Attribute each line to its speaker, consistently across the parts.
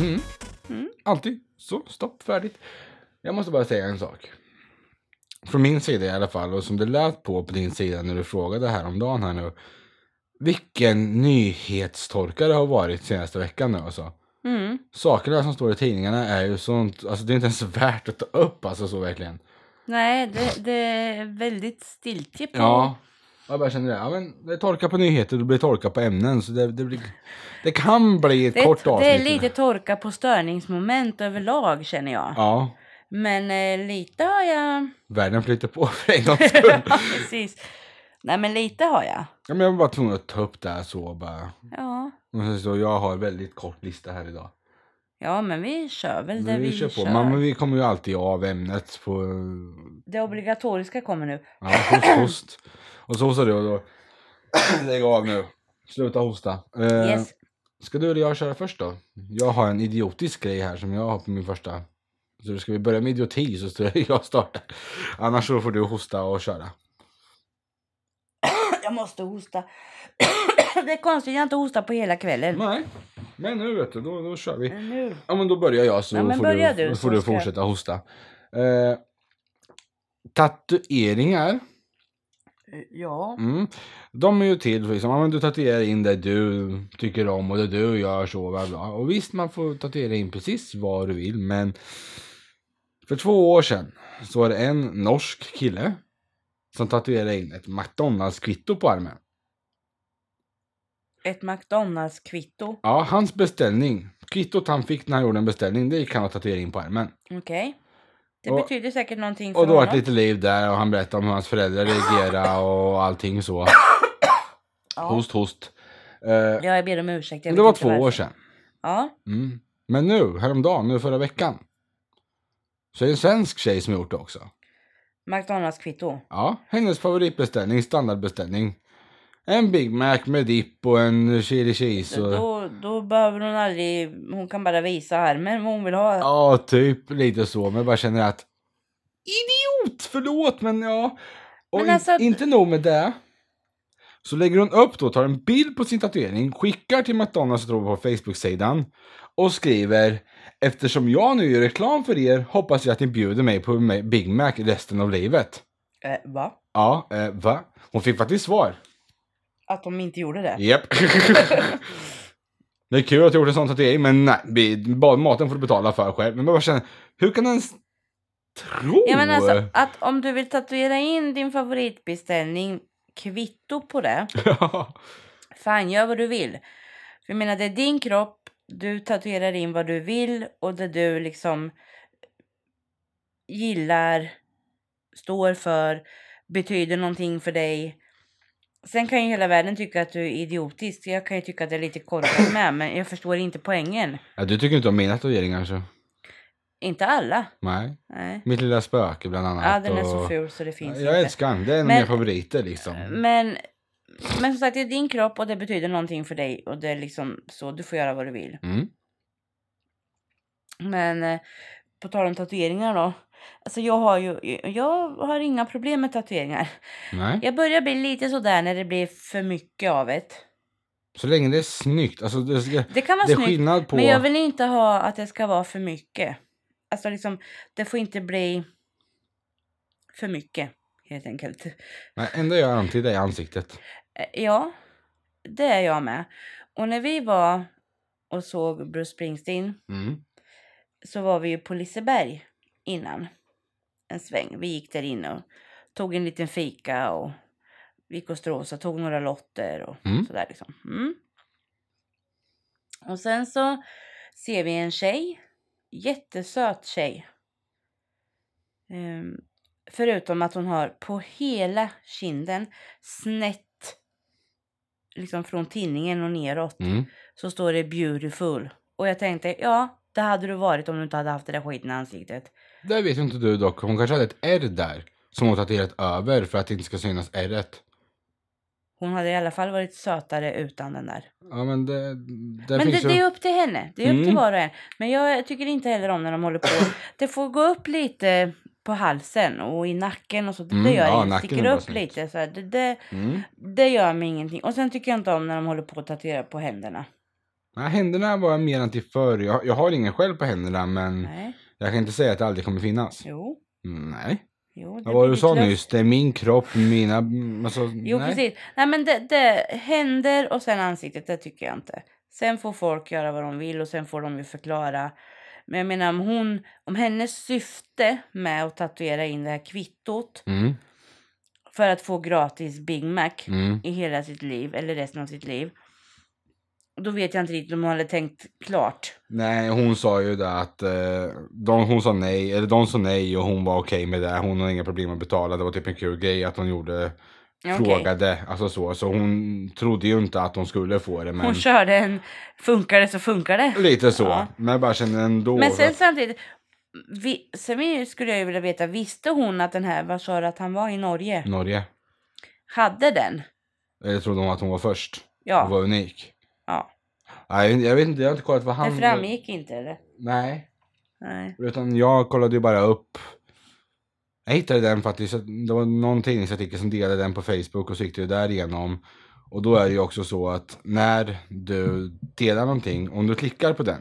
Speaker 1: Mm.
Speaker 2: Mm.
Speaker 1: Alltid. Så, stopp, färdigt. Jag måste bara säga en sak. Från min sida i alla fall, och som det lät på på din sida när du frågade häromdagen här nu. Vilken nyhetstorka det har varit senaste veckan nu alltså.
Speaker 2: Mm.
Speaker 1: Sakerna som står i tidningarna är ju sånt, alltså det är inte ens värt att ta upp alltså så verkligen.
Speaker 2: Nej, det, det är väldigt stiltje på.
Speaker 1: Ja. Jag bara känner det. Ja, men det är torka på nyheter, det blir torka på ämnen. Så det, det, blir, det kan bli ett
Speaker 2: det, är-
Speaker 1: kort
Speaker 2: det
Speaker 1: avsnitt.
Speaker 2: är lite torka på störningsmoment överlag känner jag.
Speaker 1: Ja,
Speaker 2: Men eh, lite har jag.
Speaker 1: världen flyter på för en gångs skull.
Speaker 2: Ja, precis. Nej, men lite har jag.
Speaker 1: Ja, men jag var bara tvungen att ta upp det här så bara.
Speaker 2: Ja,
Speaker 1: Och sen så, jag har en väldigt kort lista här idag.
Speaker 2: ja men vi kör väl det
Speaker 1: Men
Speaker 2: vi,
Speaker 1: vi kör på.
Speaker 2: kör.
Speaker 1: Mamma, vi kommer ju alltid av ämnet på...
Speaker 2: Det obligatoriska kommer nu.
Speaker 1: Ja, host, host. Och så hostar du och då... Lägg av nu. Sluta hosta. Eh,
Speaker 2: Yes.
Speaker 1: Ska du eller jag köra först då? Jag har en idiotisk grej här som jag har på min första. Så ska vi börja med idioti så ska jag starta. Annars så får du hosta och köra.
Speaker 2: Jag måste hosta. det är konstigt, jag har inte hostat på hela kvällen.
Speaker 1: Nej, men nu vet du, då, då kör vi.
Speaker 2: Nu.
Speaker 1: Ja men då börjar jag så
Speaker 2: Ja, men
Speaker 1: får,
Speaker 2: börja
Speaker 1: du,
Speaker 2: du,
Speaker 1: då
Speaker 2: så
Speaker 1: får du
Speaker 2: ska jag-
Speaker 1: fortsätta hosta. Eh, tatueringar.
Speaker 2: eh, Ja.
Speaker 1: Mm. De är ju till för liksom, ja, men du tatuerar in det du tycker om och det du gör så bla bla. Och visst man får tatuera in precis vad du vill men för två år sedan så var det en norsk kille som tatuerade in ett McDonalds-kvitto på armen.
Speaker 2: Ett McDonalds-kvitto.
Speaker 1: Ja, hans beställning, kvittot han fick när han gjorde en beställning, det gick han att tatuera in på armen.
Speaker 2: Okej. Det
Speaker 1: Och-
Speaker 2: betyder säkert någonting för
Speaker 1: Och då var
Speaker 2: honom.
Speaker 1: det lite liv där och han berättade om hur hans föräldrar reagerade och allting så.
Speaker 2: ja. Ah.
Speaker 1: Host, host. Eh,
Speaker 2: ja, jag ber om ursäkt. Jag
Speaker 1: det
Speaker 2: vet
Speaker 1: var
Speaker 2: inte
Speaker 1: två
Speaker 2: varför.
Speaker 1: år sedan.
Speaker 2: Ja.
Speaker 1: Mm. Men nu, häromdagen, nu förra veckan. Så är det en svensk tjej som har gjort det också.
Speaker 2: McDonalds-kvitto.
Speaker 1: Ja, hennes favoritbeställning, standardbeställning. En Big Mac med dipp och en chili cheese och...
Speaker 2: Då, då behöver hon aldrig... Hon kan bara visa armen vad hon vill ha.
Speaker 1: Ja, typ lite så. Men jag bara känner att... Idiot! Förlåt, men ja. Och
Speaker 2: Men
Speaker 1: in,
Speaker 2: alltså-
Speaker 1: inte nog med det. Så lägger hon upp då, tar en bild på sin tatuering, skickar till McDonalds tror jag, på Facebook-sidan och skriver Eftersom jag nu gör reklam för er hoppas jag att ni bjuder mig på Ma- Big Mac resten av livet.
Speaker 2: Eh, va?
Speaker 1: Ja, eh, va? Hon fick faktiskt svar.
Speaker 2: Att de inte gjorde det?
Speaker 1: Japp. det är kul att du gjort en sån tatuering, men nej. vi- Bara maten får du betala för själv. Men jag bara känner, hur kan du ens tro?
Speaker 2: Ja, men alltså, att om du vill tatuera in din favoritbeställning, kvitto på det.
Speaker 1: Ja.
Speaker 2: Fan, gör vad du vill. För jag menar, det är din kropp. Du tatuerar in vad du vill och det du liksom gillar, står för, betyder någonting för dig. Sen kan ju hela världen tycka att du är idiotisk. Jag kan ju tycka att det är lite korkat med, men jag förstår inte poängen.
Speaker 1: ja, du tycker inte om mina tatueringar så?
Speaker 2: Inte alla.
Speaker 1: Nej.
Speaker 2: Nej.
Speaker 1: Mitt lilla spöke bland annat.
Speaker 2: Ja, den är så
Speaker 1: och-
Speaker 2: ful så det finns
Speaker 1: Jag
Speaker 2: inte.
Speaker 1: älskar den. Det är en av
Speaker 2: Men-
Speaker 1: mina favoriter liksom.
Speaker 2: Men, men som sagt, det är din kropp och det betyder någonting för dig. Och det är liksom så, du får göra vad du vill.
Speaker 1: Mm.
Speaker 2: Men eh, på tal om tatueringar då. Alltså jag har ju, jag har inga problem med tatueringar.
Speaker 1: Nej.
Speaker 2: Jag börjar bli lite sådär när det blir för mycket av ett.
Speaker 1: Så länge det är snyggt. Alltså, det, ska,
Speaker 2: Det kan vara
Speaker 1: det är
Speaker 2: snyggt.
Speaker 1: skillnad på...
Speaker 2: Men jag vill inte ha att det ska vara för mycket. Alltså liksom, det får inte bli för mycket helt enkelt.
Speaker 1: Nej, enda jag antydde är ansiktet.
Speaker 2: Eh, Ja, det är jag med. Och när vi var och såg Bruce Springsteen
Speaker 1: Mm.
Speaker 2: så var vi ju på Liseberg innan. En sväng. Vi gick där inne och tog en liten fika och vi gick och stråsa, tog några lotter och
Speaker 1: Mm.
Speaker 2: sådär liksom. Mm. Och sen så ser vi en tjej. Jättesöt tjej. Ehm, förutom att hon har på hela kinden snett liksom från tinningen och neråt
Speaker 1: Mm.
Speaker 2: så står det beautiful. Och jag tänkte, ja, det hade du varit om du inte hade haft det där skiten i ansiktet.
Speaker 1: Det vet ju inte du dock. Hon kanske hade ett R där. Som hon tatuerat över för att det inte ska synas R-et.
Speaker 2: Hon hade i alla fall varit sötare utan den där.
Speaker 1: Ja men det, det
Speaker 2: Men det,
Speaker 1: finns
Speaker 2: det
Speaker 1: ju...
Speaker 2: är upp till henne. Det är upp
Speaker 1: Mm.
Speaker 2: till var och en. Men jag tycker inte heller om när de håller på. Det får gå upp lite på halsen och i nacken och så. Det,
Speaker 1: Mm,
Speaker 2: det gör
Speaker 1: ja,
Speaker 2: ja, inget.
Speaker 1: nacken
Speaker 2: Sticker
Speaker 1: är bra
Speaker 2: upp
Speaker 1: snyggt.
Speaker 2: lite så här. Det, det,
Speaker 1: Mm.
Speaker 2: det gör mig ingenting. Och sen tycker jag inte om när de håller på att tatuera på händerna.
Speaker 1: Nej, händerna var jag mer än till förr. Jag, jag har ingen själv på händerna men
Speaker 2: Nej.
Speaker 1: jag kan inte säga att det aldrig kommer finnas. Mm,
Speaker 2: Jo.
Speaker 1: Nej.
Speaker 2: jo det
Speaker 1: Vad var
Speaker 2: blir
Speaker 1: det du sa
Speaker 2: ditt löfte.
Speaker 1: nyss? Det är min kropp, mina... Alltså,
Speaker 2: Jo,
Speaker 1: nej.
Speaker 2: precis. Nej, men det, det händer och sen ansiktet, det tycker jag inte. Sen får folk göra vad de vill och sen får de ju förklara. Men jag menar om hon, om hennes syfte med att tatuera in det här kvittot
Speaker 1: Mm,
Speaker 2: för att få gratis Big Mac
Speaker 1: mm.
Speaker 2: i hela sitt liv eller resten av sitt liv. Då vet jag inte riktigt om hon hade tänkt klart.
Speaker 1: Nej, hon sa ju det att eh, de, hon sa nej, eller de sa nej och hon var okej med det. Hon har inga problem att betala. Det var typ en kul grej att hon gjorde,
Speaker 2: Ja, okej.
Speaker 1: frågade. Alltså så. Så hon trodde ju inte att hon skulle få det. Men
Speaker 2: Hon körde en funkar det så funkar det.
Speaker 1: lite så.
Speaker 2: Ja.
Speaker 1: Men jag bara kände ändå.
Speaker 2: Men
Speaker 1: så
Speaker 2: sen
Speaker 1: att-
Speaker 2: samtidigt, vi, sen vi- skulle jag ju vilja veta, visste hon att den här, vad sa du att han var i Norge?
Speaker 1: Norge.
Speaker 2: Hade den?
Speaker 1: Eller Eh, trodde hon att hon var först?
Speaker 2: Ja.
Speaker 1: Hon var unik.
Speaker 2: ja.
Speaker 1: Nej, jag vet inte. Jag har inte kollat vad han...
Speaker 2: Det framgick inte eller?
Speaker 1: Nej.
Speaker 2: Nej.
Speaker 1: Utan jag kollade ju bara upp. Jag hittade den faktiskt. Det var någon tidningsartikel som delade den på Facebook och så gick det ju därigenom. Och då är det ju också så att när du delar någonting, om du klickar på den,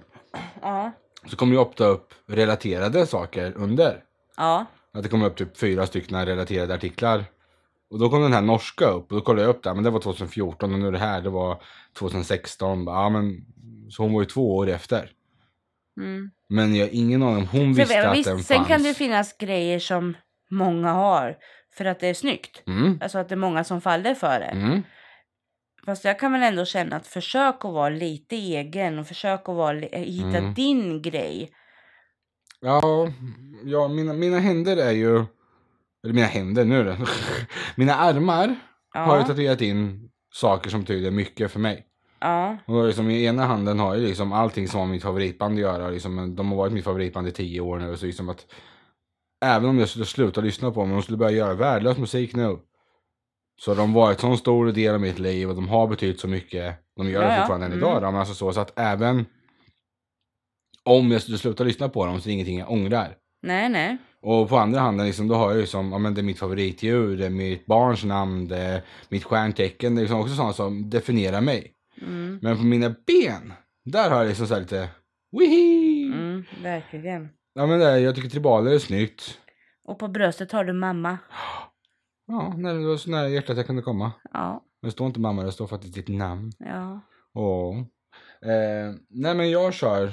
Speaker 2: Ja.
Speaker 1: så kommer ju ofta upp relaterade saker under.
Speaker 2: Ja.
Speaker 1: Att det kommer upp typ fyra stycken relaterade artiklar. Och då kom den här norska upp och då kollade jag upp det. Men det var 2014 och nu det här, det var 2016. Bara, Ja, men, så hon var ju två år efter.
Speaker 2: Mm.
Speaker 1: Men jag har ingen aning om hon
Speaker 2: För,
Speaker 1: visste att
Speaker 2: visst,
Speaker 1: den
Speaker 2: sen
Speaker 1: fanns.
Speaker 2: kan det finnas grejer som många har för att det är snyggt.
Speaker 1: Mm,
Speaker 2: Alltså att det är många som faller för det.
Speaker 1: mm,
Speaker 2: Fast jag kan väl ändå känna att försök att vara lite egen och försök att vara, li- eh, hitta
Speaker 1: Mm.
Speaker 2: din grej.
Speaker 1: ja, ja mina, mina händer är ju... Eller mina händer, nu är det. mina armar har ju
Speaker 2: Ja.
Speaker 1: tatuerat in saker som betyder mycket för mig.
Speaker 2: Ja.
Speaker 1: Och då liksom, I ena handen har jag liksom allting som har med mitt favoritband att göra. Liksom, de har varit mitt favoritband i tio år nu. Så liksom att, även om jag skulle sluta lyssna på dem, om de skulle börja göra värdelös musik nu. Så har de varit en sån stor del av mitt liv och de har betytt så mycket. De gör
Speaker 2: Ja,
Speaker 1: det
Speaker 2: ja.
Speaker 1: fortfarande än
Speaker 2: Mm.
Speaker 1: idag. då, Men alltså så, så att även om jag skulle sluta lyssna på dem så är det ingenting jag ångrar.
Speaker 2: Nej, nej.
Speaker 1: Och på andra handen liksom, då har jag ju som, ja men det är mitt favoritdjur, det är mitt barns namn, det är mitt stjärntecken. Det är liksom också sånt som definierar mig.
Speaker 2: Mm.
Speaker 1: Men på mina ben, där har jag liksom så här lite wihi.
Speaker 2: Mm, verkligen.
Speaker 1: Ja men där, jag tycker tribaler är snyggt.
Speaker 2: Och på bröstet har du mamma.
Speaker 1: Ja, när det var så nära hjärtat jag kunde komma.
Speaker 2: Ja,
Speaker 1: Men det står inte mamma, det står faktiskt ditt namn.
Speaker 2: ja.
Speaker 1: Åh. Eh, nej men jag kör,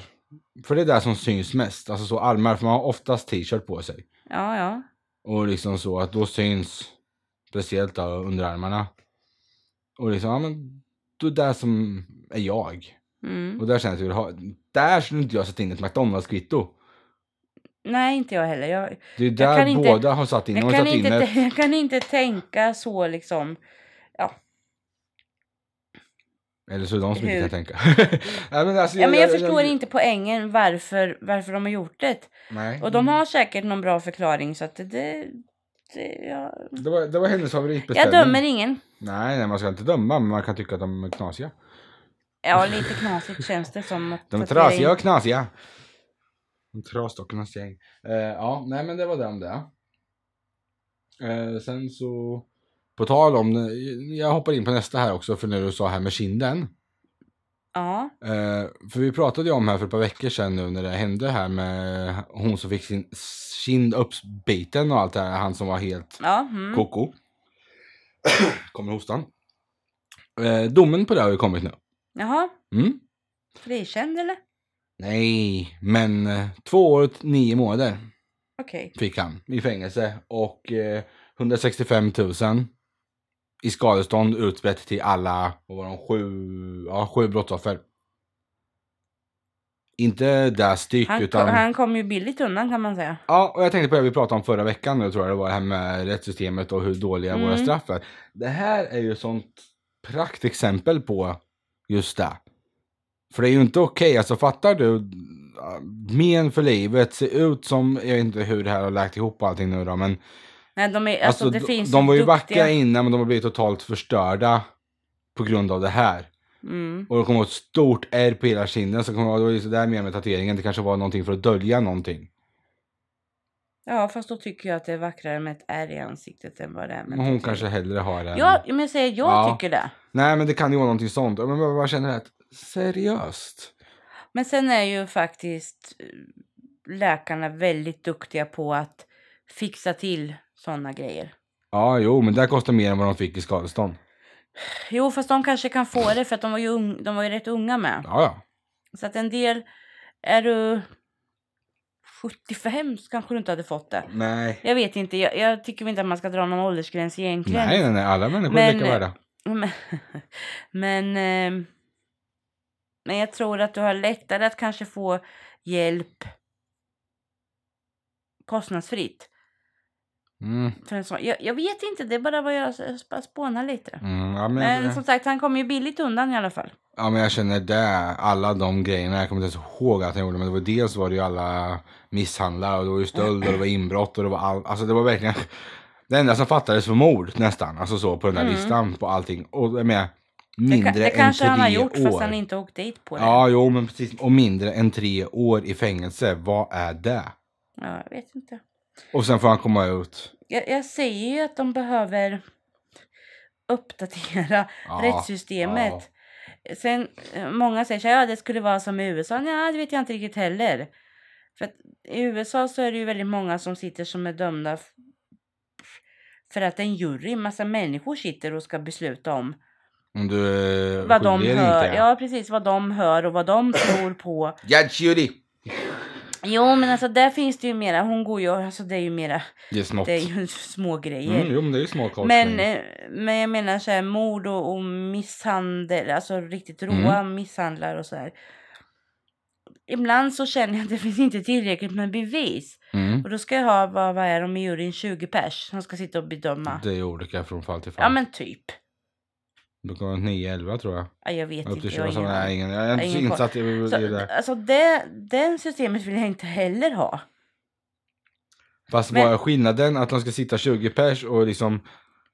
Speaker 1: för det är där som syns mest. Alltså så armar, för man har oftast t-shirt på sig.
Speaker 2: Ja, ja.
Speaker 1: Och liksom så att då syns, speciellt då underarmarna. Och liksom, ja men, det är där som är jag.
Speaker 2: Mm.
Speaker 1: Och där känns det, jag vill ha- där skulle inte jag sätta in ett McDonalds-kvitto.
Speaker 2: Nej, inte jag heller. Jag,
Speaker 1: Det är
Speaker 2: kan
Speaker 1: där
Speaker 2: inte-
Speaker 1: båda har satt in. De
Speaker 2: jag,
Speaker 1: har
Speaker 2: kan
Speaker 1: satt in
Speaker 2: inte,
Speaker 1: ett,
Speaker 2: tä- jag kan inte tänka så liksom.
Speaker 1: Eller så är det de som
Speaker 2: Hur?
Speaker 1: inte kan tänka. Nej, men alltså,
Speaker 2: Ja, men jag förstår inte poängen varför, varför de har gjort det.
Speaker 1: Nej.
Speaker 2: Och de har säkert någon bra förklaring så att det... det, det jag,
Speaker 1: Mm, det, var, det var hennes favoritbeställning.
Speaker 2: jag dömer ingen.
Speaker 1: Nej, nej, man ska inte döma, men man kan tycka att de är knasiga.
Speaker 2: Ja, lite knasigt känns det som. Att
Speaker 1: De är
Speaker 2: tatuera in-
Speaker 1: trasiga och knasiga. De trasdockornas gäng. Eh, ja, nej men det var det om det. Eh, sen så, på tal om det, jag hoppar in på nästa här också för när du sa här med kinden.
Speaker 2: Ja,
Speaker 1: Eh, för vi pratade ju om här för ett par veckor sedan nu när det hände här med hon som fick sin kind uppbiten och allt det här, han som var helt
Speaker 2: ja. Mm.
Speaker 1: Koko. Kommer hostan. Eh, domen på det har ju kommit nu.
Speaker 2: Jaha,
Speaker 1: Mm?
Speaker 2: frikänd eller?
Speaker 1: Nej, men eh, två år och nio månader
Speaker 2: Okej.
Speaker 1: fick han i fängelse och eh, 165 000 i skadestånd utspätt till alla, vad var de, sju, ja, sju brottsoffer. Inte där styck
Speaker 2: Han,
Speaker 1: utan...
Speaker 2: han kom ju billigt undan kan man säga.
Speaker 1: Ja, och jag tänkte på det vi pratade om förra veckan nu tror jag det var, det här med rättssystemet och hur dåliga våra
Speaker 2: Mm.
Speaker 1: straff är. Det här är ju ett sånt praktexempel på just det. För det är ju inte okej, alltså fattar du? äh, Men för livet, ser ut som, jag vet inte hur det här har läkt ihop och allting nu då, men
Speaker 2: Nej, de är, alltså,
Speaker 1: alltså,
Speaker 2: det
Speaker 1: de,
Speaker 2: finns
Speaker 1: de var ju
Speaker 2: duktiga-
Speaker 1: vackra innan men de har blivit totalt förstörda på grund av det här.
Speaker 2: Mm.
Speaker 1: Och det kommer vara ett stort ärr på hela kinden, så kommer det vara det var ju sådär mer med tatueringen, det kanske var någonting för att dölja någonting.
Speaker 2: Ja, fast då tycker jag att det är vackrare med ett ärr i ansiktet än vad det är med
Speaker 1: Men hon
Speaker 2: tatuering.
Speaker 1: kanske hellre har en...
Speaker 2: Ja, men jag säger jag
Speaker 1: Ja.
Speaker 2: tycker det.
Speaker 1: Nej men det kan ju vara någonting sånt. Men jag bara känner att Seriöst?
Speaker 2: Men sen är ju faktiskt eh, läkarna väldigt duktiga på att fixa till såna grejer.
Speaker 1: Ja, jo, men det här kostar mer än vad de fick i skadestånd.
Speaker 2: Jo, fast de kanske kan få det för att de var ju, ung, de var ju rätt unga med.
Speaker 1: Ja, ja.
Speaker 2: Så att en del... Är du 75 så kanske du inte hade fått det.
Speaker 1: Nej.
Speaker 2: Jag vet inte. Jag, jag tycker inte att man ska dra någon åldersgräns egentligen.
Speaker 1: Nej, nej, nej. Alla människor är
Speaker 2: Men-
Speaker 1: lika värda.
Speaker 2: Men, men, ehm, men jag tror att du har lättare att kanske få hjälp kostnadsfritt.
Speaker 1: Mm.
Speaker 2: För en sån. Jag, jag vet inte, det är bara vad jag s- bara spånar lite.
Speaker 1: Mm, ja, men,
Speaker 2: Men som sagt, han kom ju billigt undan i alla fall.
Speaker 1: ja, men jag känner det. Alla de grejerna. Jag kommer inte ens ihåg att jag gjorde. Men det var dels var det ju alla misshandlar och det var ju stöld och det var inbrott och det var allt. Alltså det var verkligen. Det enda som fattades var mord nästan. Alltså så på den där
Speaker 2: Mm.
Speaker 1: listan på allting. Och jag menar,
Speaker 2: Det,
Speaker 1: mindre
Speaker 2: ka- det
Speaker 1: än
Speaker 2: kanske han har
Speaker 1: tre
Speaker 2: gjort
Speaker 1: år.
Speaker 2: fast han inte åkt dit på det.
Speaker 1: Ja, jo, men precis. Och mindre än tre år i fängelse. Vad är det?
Speaker 2: Ja, jag vet inte.
Speaker 1: Och sen får han komma ut.
Speaker 2: Jag, jag säger ju att de behöver uppdatera
Speaker 1: Ja,
Speaker 2: rättssystemet. Sen, eh, många säger så här, ja det skulle vara som i USA. Nej, det vet jag inte riktigt heller. För att i USA så är det ju väldigt många som sitter som är dömda f- för att en jury, en massa människor sitter och ska besluta om
Speaker 1: Om du är
Speaker 2: vad de
Speaker 1: skyldig eller
Speaker 2: hör.
Speaker 1: inte.
Speaker 2: Ja, precis vad de hör och vad de tror på.
Speaker 1: Judge Judy!
Speaker 2: Jo, men alltså där finns det ju mera. Hon går ju, alltså det är ju mera,
Speaker 1: Det är snott.
Speaker 2: det är ju små grejer.
Speaker 1: Mm, jo, men det är ju små korsning.
Speaker 2: Men, eh, men jag menar så här mord och, och misshandel, alltså riktigt råa
Speaker 1: Mm.
Speaker 2: misshandlar och så här. Ibland så känner jag att det finns inte tillräckligt med bevis.
Speaker 1: Mm.
Speaker 2: Och då ska jag ha, vad, vad är de i juryn, 20 pers som ska sitta och bedöma.
Speaker 1: Det är olika från fall till fall.
Speaker 2: Ja men typ.
Speaker 1: Då kommer det 9-11 tror jag.
Speaker 2: Ja, jag vet
Speaker 1: Upp
Speaker 2: inte, jag
Speaker 1: till 20
Speaker 2: har ingen
Speaker 1: sådana. Nej,
Speaker 2: aning.
Speaker 1: ingen, jag är
Speaker 2: Jag har
Speaker 1: inte
Speaker 2: ingen
Speaker 1: insatt i i
Speaker 2: Så,
Speaker 1: det där.
Speaker 2: alltså det, den systemet vill jag inte heller ha.
Speaker 1: Fast
Speaker 2: men-
Speaker 1: vad är skillnaden att de ska sitta 20 pers och liksom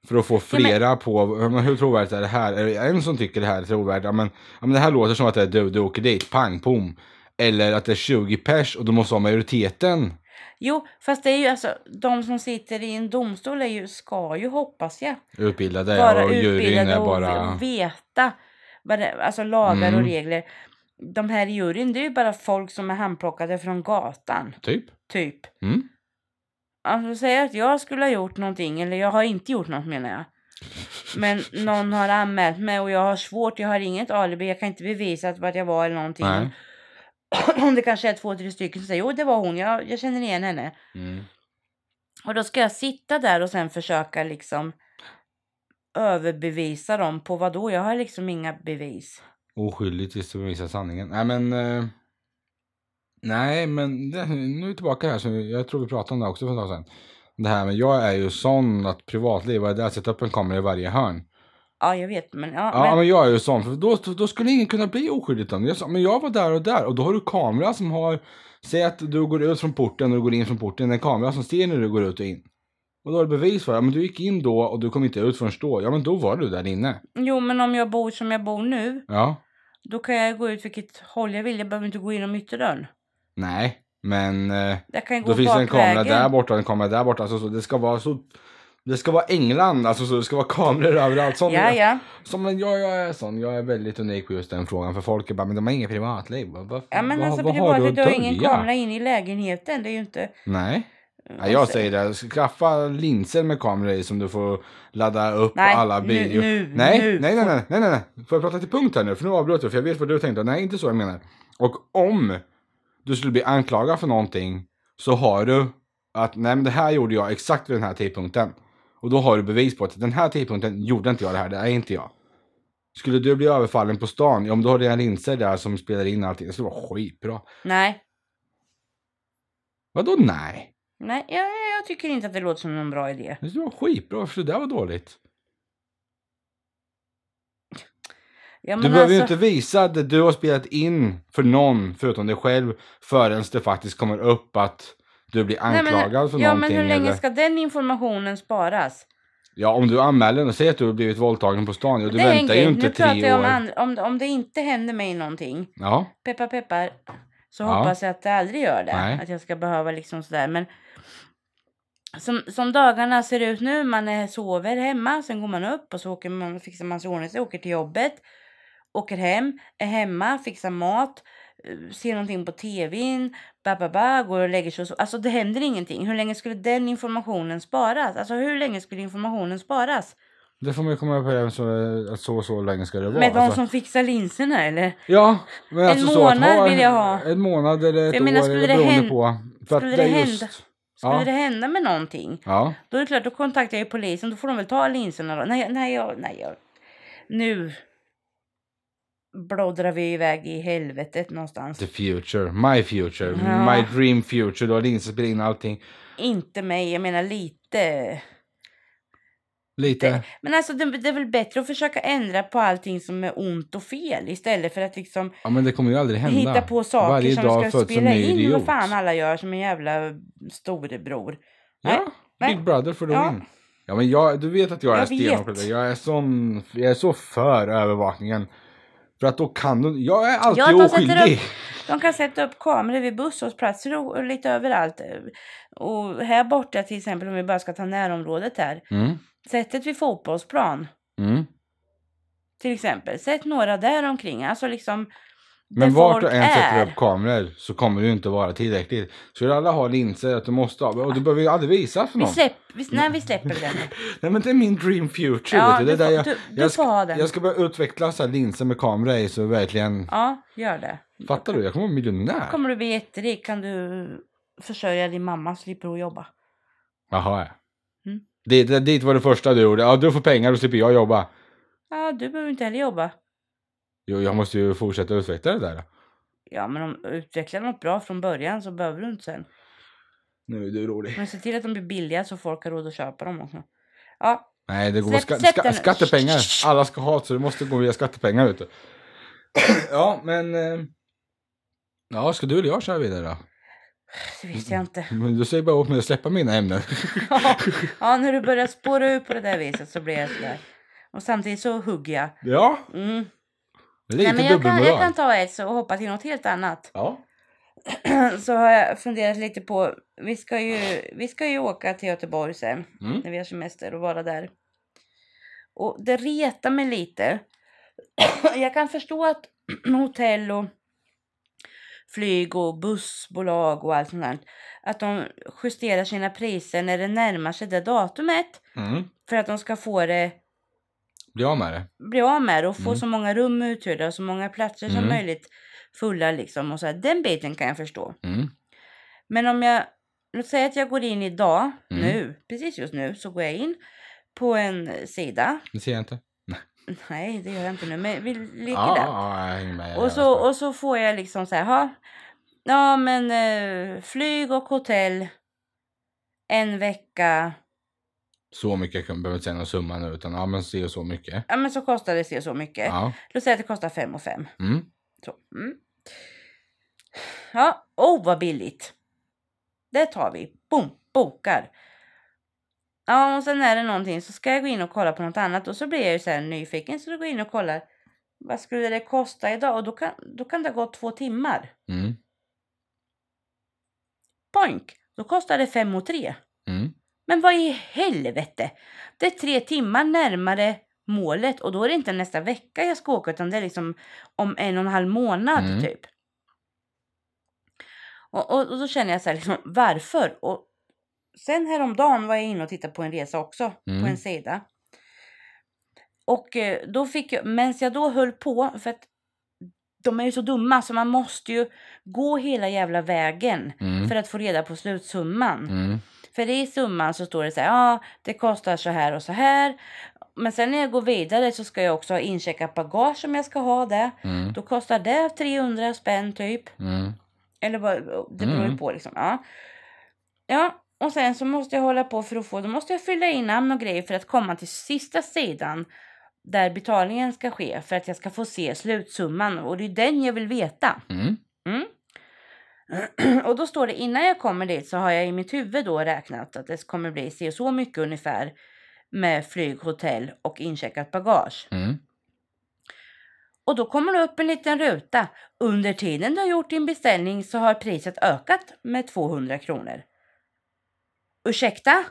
Speaker 1: för att få
Speaker 2: Ja, men-
Speaker 1: flera på, men hur trovärdigt är det här? Är det en som tycker det här är trovärdigt? Ja men, ja, men det här låter som att det är du, du åker dit, pang, pom. Eller att det är 20 pers och du måste ha majoriteten.
Speaker 2: Jo, fast det är ju alltså, de som sitter i en domstol är ju, ska ju hoppas jag,
Speaker 1: Utbildade
Speaker 2: vara
Speaker 1: och juryn
Speaker 2: utbildade
Speaker 1: är
Speaker 2: och
Speaker 1: bara...
Speaker 2: veta vad det, alltså lagar
Speaker 1: Mm.
Speaker 2: och regler. De här i juryn, det är ju bara folk som är handplockade från gatan,
Speaker 1: Typ.
Speaker 2: typ.
Speaker 1: Mm.
Speaker 2: Alltså säg att jag skulle ha gjort någonting, eller jag har inte gjort något menar jag. Men någon har anmält mig och jag har svårt, jag har inget alibi, jag kan inte bevisa att vart jag var eller någonting.
Speaker 1: Nej.
Speaker 2: Om det kanske är två, tre stycken som säger jo det var hon, jag, jag känner igen henne.
Speaker 1: Mm.
Speaker 2: Och då ska jag sitta där och sen försöka liksom överbevisa dem på vad då? Jag har liksom inga bevis.
Speaker 1: Oskyldig tills du bevisar sanningen. Nej men... eh, nej men det, nu är vi tillbaka här. Så jag tror vi pratade om det också för ett tag sedan. Det här med jag är ju sån att privatliv, vad är det? Sätta upp en kamera i varje hörn.
Speaker 2: Ja, jag vet, men ja.
Speaker 1: Ja men,
Speaker 2: men,
Speaker 1: jag är ju sån. För då, då skulle ingen kunna bli oskyldig utan jag sa, men jag var där och där. Och då har du kamera som har... Säg att du går ut från porten och du går in från porten. En kamera som ser när du går ut och in. Och då har du bevis för det. Ja, Men du gick in då och du kom inte ut förrän då. Ja men då var du där inne.
Speaker 2: Jo, men om jag bor som jag bor nu,
Speaker 1: Ja.
Speaker 2: då kan jag gå ut vilket håll jag vill. Jag behöver inte gå inom ytterdörren.
Speaker 1: Nej. Men... eh,
Speaker 2: Jag kan ju gå
Speaker 1: Då finns det en kamera
Speaker 2: bakvägen.
Speaker 1: där borta och en kamera där borta. Alltså, så det ska vara så... Det ska vara England, alltså så det ska vara kameror överallt. Sån,
Speaker 2: Ja, ja.
Speaker 1: Som en, jag, jag är sån, jag är väldigt unik på just den frågan. För folk är bara, men de har inget privatliv. Vad, vad,
Speaker 2: Ja, men
Speaker 1: vad,
Speaker 2: alltså
Speaker 1: vad har du
Speaker 2: privatlivet,
Speaker 1: att
Speaker 2: du har ju ingen
Speaker 1: dölja?
Speaker 2: kamera in i lägenheten. Det är ju inte...
Speaker 1: Nej. Ja,
Speaker 2: Vad
Speaker 1: jag
Speaker 2: säger-
Speaker 1: säger det, skaffa linser med kameror i som du får ladda upp
Speaker 2: Nej,
Speaker 1: alla
Speaker 2: nu-
Speaker 1: bilder.
Speaker 2: nu,
Speaker 1: nej,
Speaker 2: nu.
Speaker 1: nej, nej, nej, nej, nej, nej. Får jag prata till punkt här nu? För nu avbröt jag, för jag vet vad du tänkte. Nej, inte så jag menar. Och om du skulle bli anklagad för någonting så har du att nej, men det här gjorde jag exakt vid den här tidpunkten. Och då har du bevis på att den här tidpunkten gjorde inte jag det här, det är inte jag. Skulle du bli överfallen på stan, ja, om du har dina linser där som spelar in allting, det skulle vara skitbra.
Speaker 2: Nej.
Speaker 1: Vadå nej?
Speaker 2: Nej, jag, jag tycker inte att det låter som någon bra idé.
Speaker 1: Det skulle vara skitbra, varför skulle det där vara dåligt?
Speaker 2: Ja, men
Speaker 1: Du behöver ju
Speaker 2: alltså-
Speaker 1: inte visa det du har spelat in för någon förutom dig själv förrän det faktiskt kommer upp att du blir
Speaker 2: Nej,
Speaker 1: anklagad
Speaker 2: men-
Speaker 1: för
Speaker 2: Ja, men
Speaker 1: någonting.
Speaker 2: hur länge
Speaker 1: eller...
Speaker 2: ska den informationen sparas?
Speaker 1: Ja, om du anmäler och säger att du har blivit våldtagen på stan, ja, du
Speaker 2: Det är en
Speaker 1: väntar ju
Speaker 2: grej.
Speaker 1: inte
Speaker 2: nu pratar
Speaker 1: tre
Speaker 2: jag
Speaker 1: år.
Speaker 2: om, and- om, om det inte händer mig någonting,
Speaker 1: Ja,
Speaker 2: peppar peppar, så
Speaker 1: Ja.
Speaker 2: hoppas jag att det aldrig gör det.
Speaker 1: Nej.
Speaker 2: Att jag ska behöva liksom sådär. Men som, som dagarna ser ut nu, man är, sover hemma, sen går man upp och så åker man, fixar man sig i ordning, så åker till jobbet. åker hem, är hemma, fixar mat, eh, ser någonting på tvn, ba, ba, ba, går och lägger sig och så. Alltså det händer ingenting. Hur länge skulle den informationen sparas? Alltså hur länge skulle informationen sparas?
Speaker 1: Det får man ju komma på även så, att så och så länge ska det vara.
Speaker 2: Med de
Speaker 1: alltså.
Speaker 2: som fixar linserna eller?
Speaker 1: Ja, men
Speaker 2: En
Speaker 1: alltså så att
Speaker 2: månad
Speaker 1: ha en-
Speaker 2: vill jag ha.
Speaker 1: En månad eller ett
Speaker 2: Jag menar,
Speaker 1: år
Speaker 2: skulle
Speaker 1: eller
Speaker 2: det
Speaker 1: beroende
Speaker 2: hända-
Speaker 1: på. För
Speaker 2: skulle
Speaker 1: att
Speaker 2: det
Speaker 1: det är
Speaker 2: hända?
Speaker 1: just...
Speaker 2: Skulle
Speaker 1: Ja.
Speaker 2: det hända med någonting?
Speaker 1: Ja.
Speaker 2: Då är det klart, då kontaktar jag ju polisen. Då får de väl ta linserna då. Nej, nej, jag, nej, jag. Nu blådrar vi iväg i helvetet någonstans.
Speaker 1: The future, my future,
Speaker 2: Ja.
Speaker 1: my dream future. Du har linser, spelar in allting.
Speaker 2: Inte mig, jag menar lite.
Speaker 1: Lite.
Speaker 2: Men alltså det, det är väl bättre att försöka ändra på allting som är ont och fel istället för att liksom
Speaker 1: Ja men det kommer ju aldrig hända.
Speaker 2: hitta på saker
Speaker 1: Varje
Speaker 2: som
Speaker 1: dag
Speaker 2: ska
Speaker 1: föds en
Speaker 2: spela
Speaker 1: ny
Speaker 2: in vad
Speaker 1: idiot.
Speaker 2: fan alla gör som en jävla storebror. Nej,
Speaker 1: Ja,
Speaker 2: nej.
Speaker 1: Big Brother for the
Speaker 2: Ja.
Speaker 1: win. Ja men jag, du vet att jag, är
Speaker 2: Jag vet.
Speaker 1: stenhård på det. Jag är, sån, jag är så för övervakningen. För att då kan du, jag är alltid
Speaker 2: Ja, de sätter
Speaker 1: oskyldig.
Speaker 2: De kan sätta upp kameror vid busshållplatser och, och lite överallt. Och här borta till exempel, om vi bara ska ta närområdet här.
Speaker 1: Mm,
Speaker 2: Sättet vid fotbollsplan
Speaker 1: mm.
Speaker 2: till exempel. Sätt några där omkring. Alltså liksom
Speaker 1: Men
Speaker 2: där
Speaker 1: vart
Speaker 2: folk
Speaker 1: du än sätter
Speaker 2: är.
Speaker 1: upp kameror så kommer det ju inte vara tillräckligt. Så alla har linser att du måste ha, och du behöver ju aldrig visa för
Speaker 2: Vi
Speaker 1: någon.
Speaker 2: släpp, vi,
Speaker 1: Mm.
Speaker 2: nej, vi släpper den.
Speaker 1: Nej men det är min dream future
Speaker 2: Ja,
Speaker 1: vet du. Det
Speaker 2: du
Speaker 1: är där
Speaker 2: får-
Speaker 1: jag,
Speaker 2: du- du
Speaker 1: jag,
Speaker 2: får
Speaker 1: ska-
Speaker 2: ha den.
Speaker 1: jag ska börja utveckla så här linser med kamera i så verkligen,
Speaker 2: Ja, gör det.
Speaker 1: fattar du? Jag kommer vara miljonär.
Speaker 2: Kommer du bli jätterik kan du försörja din mamma så slipper hon jobba.
Speaker 1: Jaha ja.
Speaker 2: Mm.
Speaker 1: Dit, dit- dit var det första du gjorde. Ja, du får pengar, då slipper jag jobba.
Speaker 2: Ja, du behöver inte heller jobba.
Speaker 1: Jo, jag måste ju fortsätta utveckla det där.
Speaker 2: Ja, men om utvecklar något bra från början så behöver du inte sen.
Speaker 1: Nu är du rolig.
Speaker 2: Men se till att de blir billiga så folk har råd att köpa dem också. Ja,
Speaker 1: Nej, det går
Speaker 2: Släpp-
Speaker 1: ska,
Speaker 2: släpp
Speaker 1: ska,
Speaker 2: den.
Speaker 1: skattepengar. Alla ska ha så det måste gå via skattepengar ute. ja, men... eh, Ja, ska du eller jag köra vidare då?
Speaker 2: det visste jag inte.
Speaker 1: Men du säger bara åt mig att släppa mina ämnen.
Speaker 2: Ja, när du börjar spåra ut på det där viset så blir jag sådär. Och samtidigt så hugger jag.
Speaker 1: ja,
Speaker 2: Mm.
Speaker 1: lite
Speaker 2: Nej, men jag, kan, jag
Speaker 1: dubbelmoral.
Speaker 2: kan ta ett så och hoppa till något helt annat.
Speaker 1: Ja.
Speaker 2: så har jag funderat lite på, vi ska ju, vi ska ju åka till Göteborg sen
Speaker 1: Mm.
Speaker 2: när vi har semester och vara där. Och det retar mig lite. jag kan förstå att hotell och flyg och bussbolag och allt sånt där, att de justerar sina priser när det närmar sig det datumet
Speaker 1: Mm.
Speaker 2: för att de ska få det
Speaker 1: Bli av med det.
Speaker 2: bli av med det och få
Speaker 1: Mm.
Speaker 2: så många rum uthyrda och så många platser som
Speaker 1: Mm.
Speaker 2: möjligt fulla liksom. Och så här, den biten kan jag förstå.
Speaker 1: Mm.
Speaker 2: Men om jag, låt säga att jag går in idag,
Speaker 1: Mm.
Speaker 2: nu, precis just nu, så går jag in på en sida.
Speaker 1: Det ser jag inte.
Speaker 2: Nej, det gör jag inte nu, men vi leker
Speaker 1: Ja,
Speaker 2: där.
Speaker 1: Ah, ja, jag hänger med.
Speaker 2: Och så, och så får jag liksom så här, ha, ja men eh, flyg och hotell en vecka.
Speaker 1: så mycket, jag kan- behöver inte säga någon summa nu, utan ja, men se och så mycket.
Speaker 2: Ja men så kostar det så och så mycket.
Speaker 1: Ja.
Speaker 2: Låt säga att det kostar fem och fem.
Speaker 1: Mm.
Speaker 2: Så. Mm. Ja, oh vad billigt. Det tar vi. Boom, bokar. Ja, och sen är det någonting så ska jag gå in och kolla på något annat och så blir jag ju så här nyfiken så då går jag in och kollar. Vad skulle det kosta idag? Och då kan, då kan det gå två timmar.
Speaker 1: Mm.
Speaker 2: Poink! Då kostar det fem och tre.
Speaker 1: Mm.
Speaker 2: Men vad i helvete! Det är tre timmar närmare målet och då är det inte nästa vecka jag ska åka utan det är liksom om en och en halv månad
Speaker 1: Mm.
Speaker 2: typ. Och, och, och då känner jag så här liksom, varför? Och sen häromdagen var jag inne och tittade på en resa också,
Speaker 1: Mm.
Speaker 2: på en sida. Och eh, då fick jag, medan jag då höll på, för att de är ju så dumma så man måste ju gå hela jävla vägen
Speaker 1: Mm.
Speaker 2: för att få reda på slutsumman.
Speaker 1: Mm.
Speaker 2: För i summan så står det så här, ja det kostar så här och så här. Men sen när jag går vidare så ska jag också ha incheckat bagage om jag ska ha det.
Speaker 1: Mm.
Speaker 2: Då kostar det 300 spänn typ.
Speaker 1: Mm.
Speaker 2: Eller vad, det beror
Speaker 1: Mm.
Speaker 2: ju på liksom. Ja. ja, och sen så måste jag hålla på för att få, då måste jag fylla i namn och grejer för att komma till sista sidan. Där betalningen ska ske för att jag ska få se slutsumman och det är den jag vill veta.
Speaker 1: Mm.
Speaker 2: Och då står det innan jag kommer dit så har jag i mitt huvud då räknat att det kommer bli se så mycket ungefär med flyg, hotell och incheckat bagage.
Speaker 1: Mm.
Speaker 2: Och då kommer det upp en liten ruta. Under tiden du har gjort din beställning så har priset ökat med 200 kronor. Ursäkta?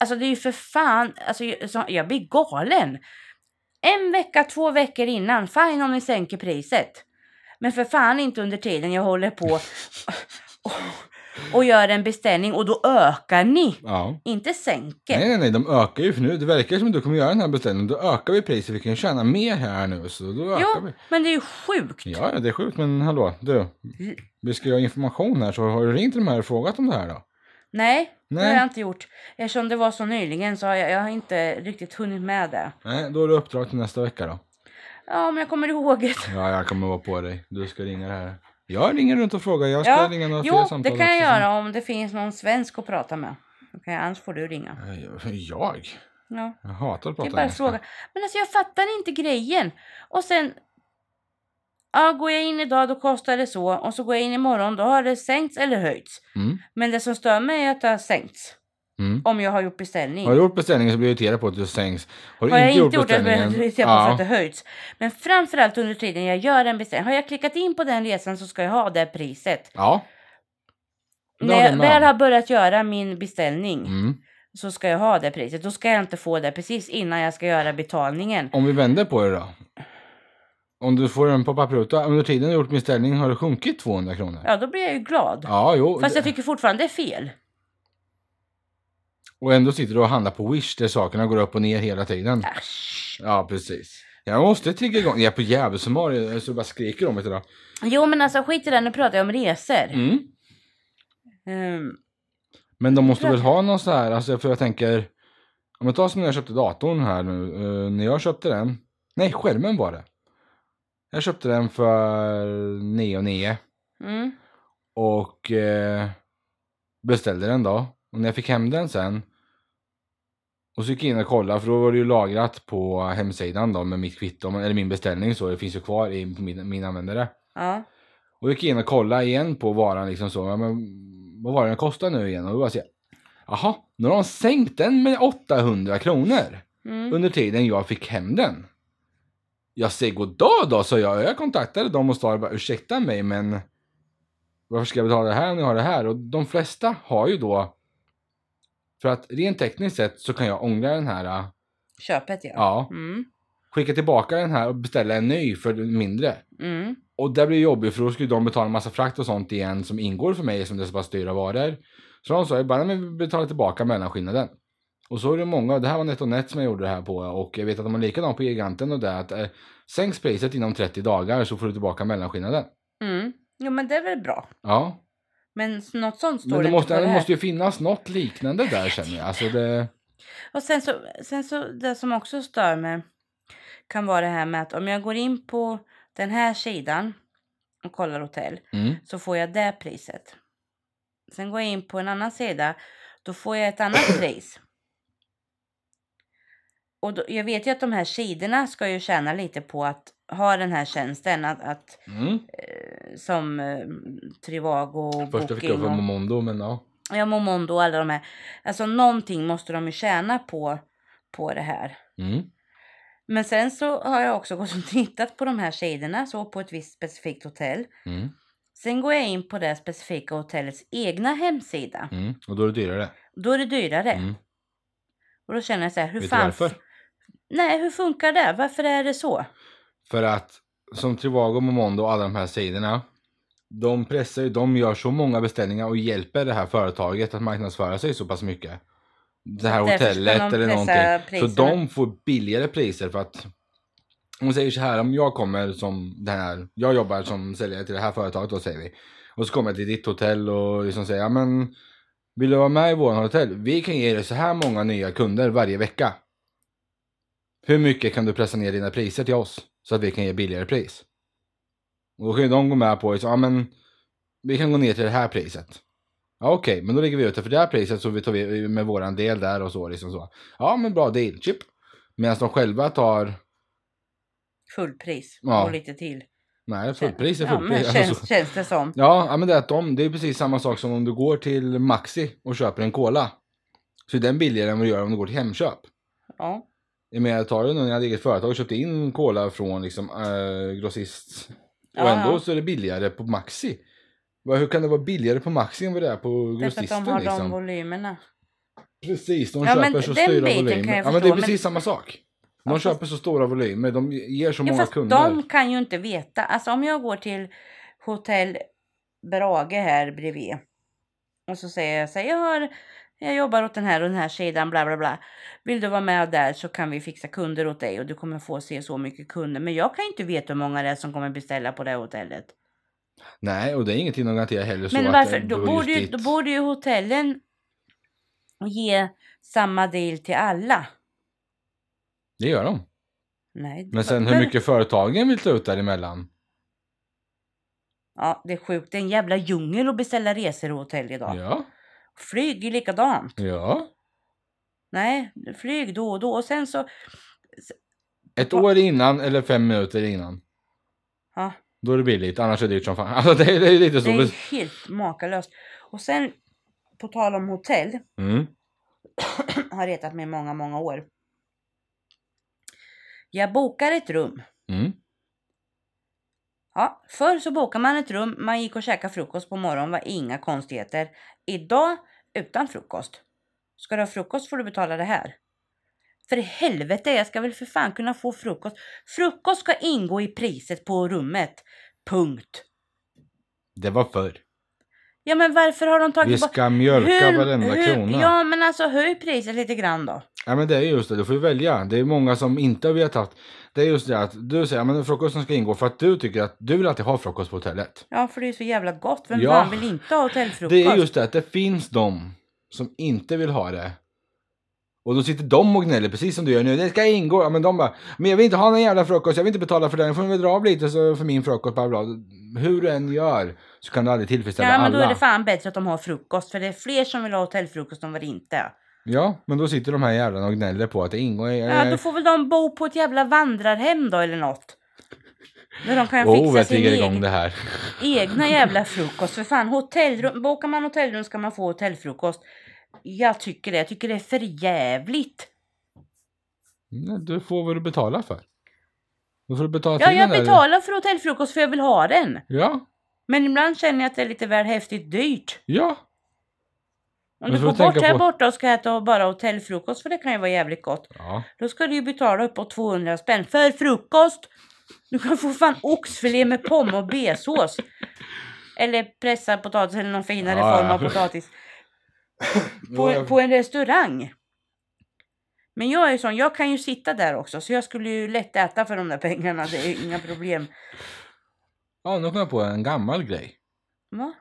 Speaker 2: Alltså det är ju för fan, alltså jag, så- jag blir galen. En vecka, två veckor innan, fine om ni sänker priset. Men för fan inte under tiden jag håller på och, och gör en beställning och då ökar ni.
Speaker 1: Ja.
Speaker 2: Inte sänker.
Speaker 1: Nej, nej, nej, de ökar ju för nu. Det verkar som att du kommer göra den här beställningen. Då ökar vi priset. Vi kan ju tjäna mer här nu. Så då ökar
Speaker 2: jo,
Speaker 1: vi.
Speaker 2: men det är ju sjukt.
Speaker 1: Ja, ja, det är sjukt. Men hallå, du.
Speaker 2: Mm.
Speaker 1: Vi ska ju ha information här. Så har du ringt till de här och frågat om det här då?
Speaker 2: Nej, det har
Speaker 1: Nej.
Speaker 2: jag inte gjort. Eftersom det var så nyligen så har jag, jag har inte riktigt hunnit med det.
Speaker 1: Nej, då är det uppdrag till nästa vecka då.
Speaker 2: Ja, men jag kommer ihåg det.
Speaker 1: Ja, jag kommer vara på dig. Du ska ringa det här. Jag ringer runt och frågar. Jag ska
Speaker 2: Ja,
Speaker 1: ringa några
Speaker 2: Jo,
Speaker 1: fler
Speaker 2: det
Speaker 1: samtal
Speaker 2: kan jag
Speaker 1: också sen.
Speaker 2: göra om det finns någon svensk att prata med. Okej, annars får du ringa.
Speaker 1: Eh, Jag?
Speaker 2: Ja.
Speaker 1: Jag hatar att
Speaker 2: Det
Speaker 1: prata
Speaker 2: är bara
Speaker 1: engelska.
Speaker 2: fråga. Men alltså jag fattar inte grejen. Och sen. Ja, går jag in idag då kostar det så. Och så går jag in imorgon då har det sänkts eller höjts.
Speaker 1: Mm.
Speaker 2: Men det som stör mig är att det har sänkts.
Speaker 1: Mm.
Speaker 2: Om jag har gjort beställning.
Speaker 1: Har du gjort beställningen så blir jag irriterad på att du sänks. Har du
Speaker 2: Har jag
Speaker 1: inte gjort
Speaker 2: inte gjort det
Speaker 1: beställningen?
Speaker 2: men jag ser på för att det höjts. Men framförallt under tiden jag gör en beställning. Har jag klickat in på den resan så ska jag ha det priset.
Speaker 1: Ja. Det
Speaker 2: När
Speaker 1: håller
Speaker 2: jag
Speaker 1: jag med
Speaker 2: väl
Speaker 1: om.
Speaker 2: har börjat göra min beställning
Speaker 1: Mm.
Speaker 2: så ska jag ha det priset. Då ska jag inte få det precis innan jag ska göra betalningen.
Speaker 1: Om vi vänder på det då. Om du får en pop-up-ruta, under tiden du gjort beställning har det sjunkit 200 kronor.
Speaker 2: Ja, då blir jag ju glad.
Speaker 1: Ja, jo.
Speaker 2: Fast
Speaker 1: det-
Speaker 2: jag tycker fortfarande det är fel.
Speaker 1: Och ändå sitter du och handlar på Wish där sakerna går upp och ner hela tiden.
Speaker 2: Äsch.
Speaker 1: Ja, precis. Jag måste trigga igång. Jag är på djävulshumör så jag bara skriker om det idag.
Speaker 2: Jo men alltså skit i det, nu pratar jag om resor.
Speaker 1: Mm.
Speaker 2: Ehm,
Speaker 1: Men de måste
Speaker 2: tror
Speaker 1: väl
Speaker 2: att-
Speaker 1: ha någon så här, alltså för jag tänker, om jag tar som när jag köpte datorn här nu, eh, när jag köpte den, nej skärmen var det. Jag köpte den för 9 och 9
Speaker 2: mm.
Speaker 1: och eh, beställde den då. Och när jag fick hem den sen och så gick jag in och kollade för då var det ju lagrat på hemsidan då med mitt kvitto, eller min beställning så, det finns ju kvar i på min, min användare.
Speaker 2: Ja.
Speaker 1: Och gick in och kollade igen på varan liksom så. Ja, men vad var den kostar nu igen? Och då bara ser jag, Jaha, nu har de sänkt den med 800 kronor.
Speaker 2: Mm.
Speaker 1: Under tiden jag fick hem den. Jag säger goddag då, sa jag. Jag kontaktade dem och sa bara ursäkta mig men varför ska jag betala det här när jag har det här? Och de flesta har ju då för att rent tekniskt sett så kan jag ångra den här,
Speaker 2: Köpet ja.
Speaker 1: ja,
Speaker 2: Mm.
Speaker 1: skicka tillbaka den här och beställa en ny för mindre.
Speaker 2: Mm.
Speaker 1: Och det blir jobbigt för då skulle de betala en massa frakt och sånt igen som ingår för mig som det är så pass dyra varor. Så de sa ju bara, men vi betalar tillbaka mellanskillnaden. Och så är det många, det här var NetOnNet som jag gjorde det här på och jag vet att de har likadant på Giganten och det att eh, sänks priset inom 30 dagar så får du tillbaka mellanskillnaden.
Speaker 2: Mm. Jo men det är väl bra.
Speaker 1: Ja,
Speaker 2: Men s- något sånt står
Speaker 1: men det
Speaker 2: inte på
Speaker 1: måste, det
Speaker 2: det här.
Speaker 1: måste ju finnas något liknande där känner jag. Alltså det,
Speaker 2: Och sen så, sen så det som också stör mig kan vara det här med att om jag går in på den här sidan och kollar hotell
Speaker 1: mm,
Speaker 2: så får jag det priset. Sen går jag in på en annan sida, då får jag ett annat pris. Och då, jag vet ju att de här sidorna ska ju tjäna lite på att ha den här tjänsten att, att,
Speaker 1: mm.
Speaker 2: eh, som eh, Trivago och
Speaker 1: Först jag fick
Speaker 2: Booking
Speaker 1: jag för
Speaker 2: och
Speaker 1: Momondo men ja.
Speaker 2: ja, Momondo och alla de här. Alltså någonting måste de ju tjäna på, på det här.
Speaker 1: Mm,
Speaker 2: Men sen så har jag också gått och tittat på de här sidorna så på ett visst specifikt hotell.
Speaker 1: mm,
Speaker 2: Sen går jag in på det specifika hotellets egna hemsida.
Speaker 1: mm. Och då är det dyrare.
Speaker 2: Då är det dyrare.
Speaker 1: Mm.
Speaker 2: Och då känner jag så här, hur
Speaker 1: Vet du
Speaker 2: fan...
Speaker 1: varför?
Speaker 2: Nej, hur funkar det? Varför är det så?
Speaker 1: För att som Trivago, Momondo och alla de här sidorna. De pressar ju, de gör så många beställningar och hjälper det här företaget att marknadsföra sig så pass mycket. Det här
Speaker 2: Därför ska
Speaker 1: hotellet
Speaker 2: de
Speaker 1: eller
Speaker 2: pressa
Speaker 1: någonting. Så
Speaker 2: priserna.
Speaker 1: de får billigare priser för att om vi säger så här, om jag kommer som den här, jag jobbar som säljare till det här företaget då säger vi. Och så kommer jag till ditt hotell och liksom säger, ja men vill du vara med i våran hotell? Vi kan ge dig så här många nya kunder varje vecka. Hur mycket kan du pressa ner dina priser till oss? Så att vi kan ge billigare pris. Och då kan ju de gå med på, liksom, ja men vi kan gå ner till det här priset. Ja okej, men då lägger vi ut det för det här priset så vi tar vi med våran del där och så liksom så. Ja men bra deal, chip. Medan de själva tar
Speaker 2: Fullpris
Speaker 1: Ja.
Speaker 2: och lite till.
Speaker 1: Nej, fullpris är
Speaker 2: ja, men
Speaker 1: fullpris. Ja,
Speaker 2: känns,
Speaker 1: alltså, så-
Speaker 2: känns det som.
Speaker 1: ja, ja, men det är att de, det är precis samma sak som om du går till Maxi och köper en cola. Så är den billigare än vad du gör om du går till Hemköp.
Speaker 2: Ja.
Speaker 1: Jag menar, tar du nu när jag hade eget företag och köpte in cola från liksom eh, grossist. Och
Speaker 2: Ja,
Speaker 1: ändå
Speaker 2: ja.
Speaker 1: så är det billigare på Maxi. Va, Hur kan det vara billigare på Maxi än vad det är på
Speaker 2: Därför att
Speaker 1: grossisten
Speaker 2: de har de
Speaker 1: liksom?
Speaker 2: volymerna.
Speaker 1: Precis, de
Speaker 2: Ja, men
Speaker 1: köper så
Speaker 2: den
Speaker 1: styra
Speaker 2: biten kan
Speaker 1: volymer.
Speaker 2: jag
Speaker 1: Ja, men det
Speaker 2: förstå,
Speaker 1: är
Speaker 2: men-
Speaker 1: precis samma sak. De
Speaker 2: Ja,
Speaker 1: köper så stora volymer, de ger så
Speaker 2: Ja,
Speaker 1: många
Speaker 2: fast
Speaker 1: kunder.
Speaker 2: de kan ju inte veta. Alltså om jag går till hotell Brage här bredvid. Och så säger jag så här, jag, har, jag jobbar åt den här och den här sidan, bla bla bla. Vill du vara med där så kan vi fixa kunder åt dig och du kommer få se så mycket kunder. Men jag kan inte veta hur många det är som kommer beställa på det här hotellet.
Speaker 1: Nej, och det är ingenting de garanterar heller. så
Speaker 2: Men
Speaker 1: att
Speaker 2: varför?
Speaker 1: det-
Speaker 2: Då
Speaker 1: var
Speaker 2: borde,
Speaker 1: just
Speaker 2: ju,
Speaker 1: ditt-
Speaker 2: då borde ju hotellen ge samma deal till alla.
Speaker 1: Det gör de.
Speaker 2: Nej.
Speaker 1: Men sen hur
Speaker 2: men-
Speaker 1: mycket företagen vill ta ut däremellan.
Speaker 2: Ja, det är sjukt. Det är en jävla djungel att beställa resor och hotell idag.
Speaker 1: Ja.
Speaker 2: Flyg är likadant.
Speaker 1: ja.
Speaker 2: Nej, flyg då och då. Och sen så...
Speaker 1: Ett
Speaker 2: Va-
Speaker 1: år innan eller fem minuter innan.
Speaker 2: Ja,
Speaker 1: Då är det billigt, annars är det dyrt som fan. Alltså det, är- det är lite så.
Speaker 2: det är helt makalöst. Och sen, på tal om hotell,
Speaker 1: Mm.
Speaker 2: har retat mig i många, många år. Jag bokar ett rum.
Speaker 1: Mm.
Speaker 2: Ja, förr så bokade man ett rum, man gick och käkade frukost på morgonen, var inga konstigheter. Idag, utan frukost. Ska du ha frukost får du betala det här. För i helvete, jag ska väl för fan kunna få frukost. Frukost ska ingå i priset på rummet. Punkt.
Speaker 1: Det var förr.
Speaker 2: Ja men varför har de
Speaker 1: Vi
Speaker 2: tagit bort...
Speaker 1: ska mjölka varenda
Speaker 2: hur,
Speaker 1: krona. Ja.
Speaker 2: Ja men alltså höj priset lite grann då.
Speaker 1: men det är just det, du får ju välja. Det är många som inte har vetat. Det är just det att du säger att frukosten ska ingå för att du tycker att du vill alltid ha frukost på hotellet.
Speaker 2: Ja för det är ju så jävla gott. Vem
Speaker 1: Ja.
Speaker 2: fan vill inte ha hotellfrukost?
Speaker 1: Det är just det att det finns de som inte vill ha det. Och då sitter de och gnäller precis som du gör nu. Det ska ingå. Ja, men de bara, men jag vill inte ha någon jävla frukost. Jag vill inte betala för den. Jag får väl dra av lite så för min frukost. Bla bla. bla. Hur du än gör så kan du aldrig tillfredsställa
Speaker 2: Ja men
Speaker 1: alla.
Speaker 2: då är det fan bättre att de har frukost. För det är fler som vill ha hotellfrukost än vad det inte är.
Speaker 1: Ja, men då sitter de här jävlarna och gnäller på att det ingår. i-
Speaker 2: Ja då får väl de bo på ett jävla vandrarhem då eller något. Där de kan
Speaker 1: oh,
Speaker 2: fixa
Speaker 1: jag
Speaker 2: sin
Speaker 1: triggar igång
Speaker 2: egen,
Speaker 1: det här.
Speaker 2: egna jävla frukost. För fan hotellrum, bokar man hotellrum ska man få hotellfrukost. Jag tycker det. Jag tycker det är för jävligt.
Speaker 1: Nej, Mm, Du får vad du betalar för. Då får du betala
Speaker 2: Ja
Speaker 1: till
Speaker 2: jag
Speaker 1: den där-
Speaker 2: betalar för hotellfrukost för jag vill ha den.
Speaker 1: Ja,
Speaker 2: Men ibland känner jag att det är lite väl häftigt dyrt.
Speaker 1: ja.
Speaker 2: Om
Speaker 1: Men
Speaker 2: du
Speaker 1: så
Speaker 2: går
Speaker 1: får du
Speaker 2: bort
Speaker 1: tänka
Speaker 2: här
Speaker 1: på-
Speaker 2: borta och ska äta bara hotellfrukost, för det kan ju vara jävligt gott.
Speaker 1: Ja,
Speaker 2: Då ska du ju betala uppåt 200 spänn för frukost. Du kan få fan oxfilé med pommes och besås. Eller pressad potatis eller någon finare
Speaker 1: Ja, ja.
Speaker 2: form av potatis. På,
Speaker 1: Ja,
Speaker 2: på en restaurang. Men jag är ju sån, jag kan ju sitta där också. Så jag skulle ju lätt äta för de där pengarna. Det är ju inga problem.
Speaker 1: ja, nu kom jag på en gammal grej.
Speaker 2: Va?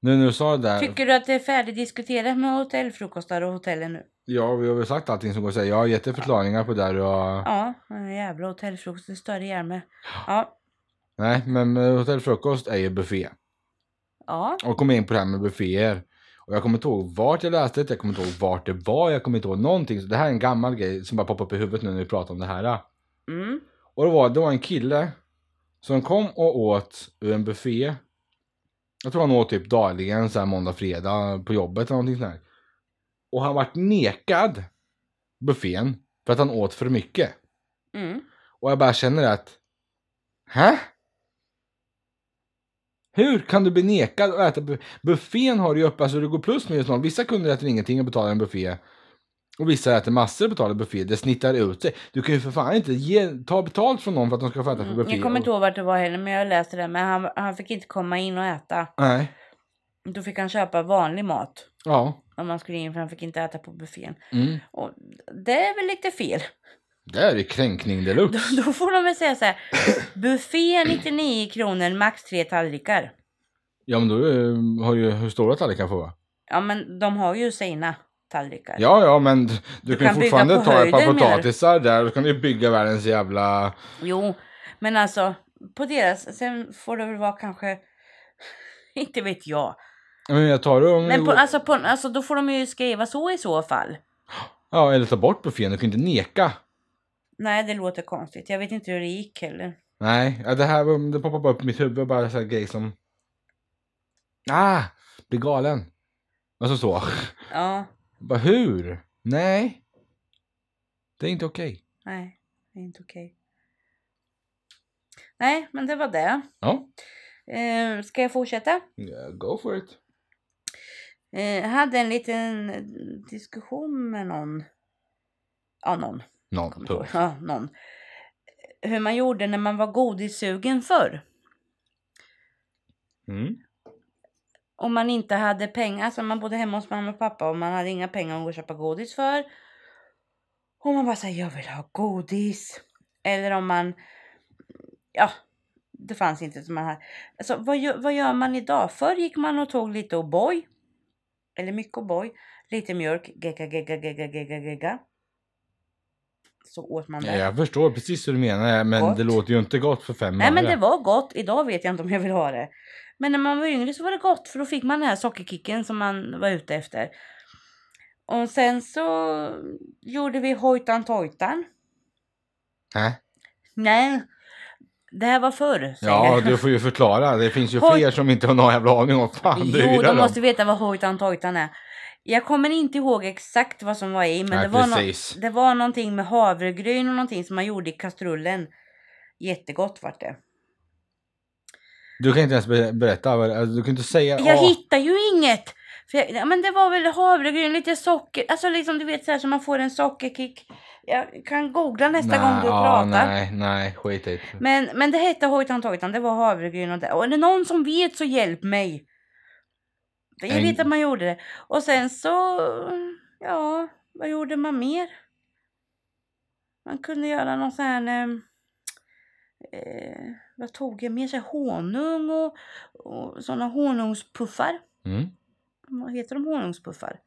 Speaker 1: Nu när du sa det där.
Speaker 2: Tycker du att det är färdigdiskuterat med hotellfrukostar och hotellen nu?
Speaker 1: Ja, vi har väl sagt allting som går att säga. Jag har gett dig förklaringar på det där och...
Speaker 2: Ja, en jävla hotellfrukost. Det stör ihjäl mig. Ja.
Speaker 1: Nej, men eh, hotellfrukost är ju buffé.
Speaker 2: Ja.
Speaker 1: Och kom in på det här med bufféer. Och jag kommer inte ihåg vart jag läste det, jag kommer inte ihåg vart det var, jag kommer inte ihåg någonting. Så det här är en gammal grej som bara poppar upp i huvudet nu när vi pratar om det här.
Speaker 2: Mm.
Speaker 1: Och det var, det var en kille som kom och åt ur en buffé. Jag tror han åt typ dagligen så här måndag, fredag på jobbet eller någonting sånt här. Och han vart nekad buffén för att han åt för mycket.
Speaker 2: Mm.
Speaker 1: Och jag bara känner att... Hä? Hur kan du bli nekad att äta bu- buffén har du ju öppen så det går plus minus noll. Vissa kunder äter ingenting och betalar en buffé. Och vissa äter massor och betalar buffé. Det snittar ut sig. Du kan ju för fan inte ge, ta betalt från någon för att de ska få äta för
Speaker 2: Mm.
Speaker 1: buffé.
Speaker 2: Jag kommer inte ihåg vart det var heller, men jag läste det. Men han, han fick inte komma in och äta.
Speaker 1: Nej.
Speaker 2: Då fick han köpa vanlig mat.
Speaker 1: Ja.
Speaker 2: Om man skulle in, för han fick inte äta på buffén.
Speaker 1: Mm.
Speaker 2: Och det är väl lite fel.
Speaker 1: Det här är kränkning deluxe.
Speaker 2: Då, då får de väl säga så här. Buffé 99 kronor, max tre tallrikar.
Speaker 1: Ja men då eh, har ju hur stora tallrikar får vara.
Speaker 2: Ja, men de har ju sina tallrikar.
Speaker 1: Ja ja men du, kan
Speaker 2: kan bygga
Speaker 1: ju fortfarande
Speaker 2: på
Speaker 1: ta ett par
Speaker 2: höjden, menar du?
Speaker 1: potatisar där. Då kan du ju bygga världens jävla...
Speaker 2: Jo, men alltså på deras, sen får det väl vara kanske, inte vet jag.
Speaker 1: Men jag tar det om...
Speaker 2: Men på, alltså, på, alltså då får de ju skriva så i så fall.
Speaker 1: Ja, eller ta bort buffén. Du kan ju inte neka.
Speaker 2: Nej, det låter konstigt. Jag vet inte hur det gick heller.
Speaker 1: Nej, ja, det här var- det poppar bara upp i mitt huvud. Bara så här grej som... Ah! Blir galen. Alltså så.
Speaker 2: Ja,
Speaker 1: Bara hur? Nej. Det är inte okej.
Speaker 2: nej, det är inte okej. Nej, men det var det.
Speaker 1: Ja.
Speaker 2: Eh, ska jag fortsätta?
Speaker 1: Yeah, go for it.
Speaker 2: Eh, hade en liten diskussion med någon. Ja, någon.
Speaker 1: Någon punkt.
Speaker 2: ja, någon. Hur man gjorde när man var godissugen förr.
Speaker 1: Mm.
Speaker 2: Om man inte hade pengar, alltså man bodde hemma hos mamma och pappa och man hade inga pengar att gå och köpa godis för. Och man bara säger jag vill ha godis. Eller om man, ja, det fanns inte som man hade. Alltså vad gör, vad gör man idag? Förr gick man och tog lite O'boy. Eller mycket O'boy. Lite mjölk, gegga, gegga, gegga, gegga, gegga. Så åt man det.
Speaker 1: Ja, jag förstår precis hur du menar men
Speaker 2: Gott.
Speaker 1: det låter ju inte gott för fem
Speaker 2: Nej men
Speaker 1: öre.
Speaker 2: det var gott. Idag vet jag inte om jag vill ha det. Men när man var yngre så var det gott för då fick man den här sockerkicken som man var ute efter. Och sen så gjorde vi hojtan tojtan.
Speaker 1: Hä?
Speaker 2: Nej, det här var förr. säger
Speaker 1: Ja,
Speaker 2: jag.
Speaker 1: du får ju förklara. Det finns ju
Speaker 2: Hoj.
Speaker 1: fler som inte har någon jävla aning om. Fan, det
Speaker 2: Jo,
Speaker 1: är
Speaker 2: de måste veta vad hojtan tojtan är. Jag kommer inte ihåg exakt vad som var i men
Speaker 1: Nej,
Speaker 2: det, var nå-
Speaker 1: precis.
Speaker 2: det var någonting med havregryn och någonting som man gjorde i kastrullen. Jättegott vart det.
Speaker 1: Du kan inte ens be- berätta. vad det- Alltså, du kan inte säga...
Speaker 2: Jag
Speaker 1: "Ah,
Speaker 2: hittar ju inget! För jag, ja, men det var väl havregryn, lite socker, alltså liksom du vet så här så man får en sockerkick. Jag kan googla nästa
Speaker 1: nej,
Speaker 2: gång du
Speaker 1: ja,
Speaker 2: pratar.
Speaker 1: Nej, nej, skit i det.
Speaker 2: Men, men det hette hojtan tojtan, det var havregryn och det. Och är det någon som vet så hjälp mig! För Jag
Speaker 1: En-
Speaker 2: vet att man gjorde det. Och sen så, ja, vad gjorde man mer? Man kunde göra någon sån här, eh, eh, vad tog jag mer? Så här honung och, och såna honungspuffar.
Speaker 1: Mm.
Speaker 2: Vad heter de honungspuffar?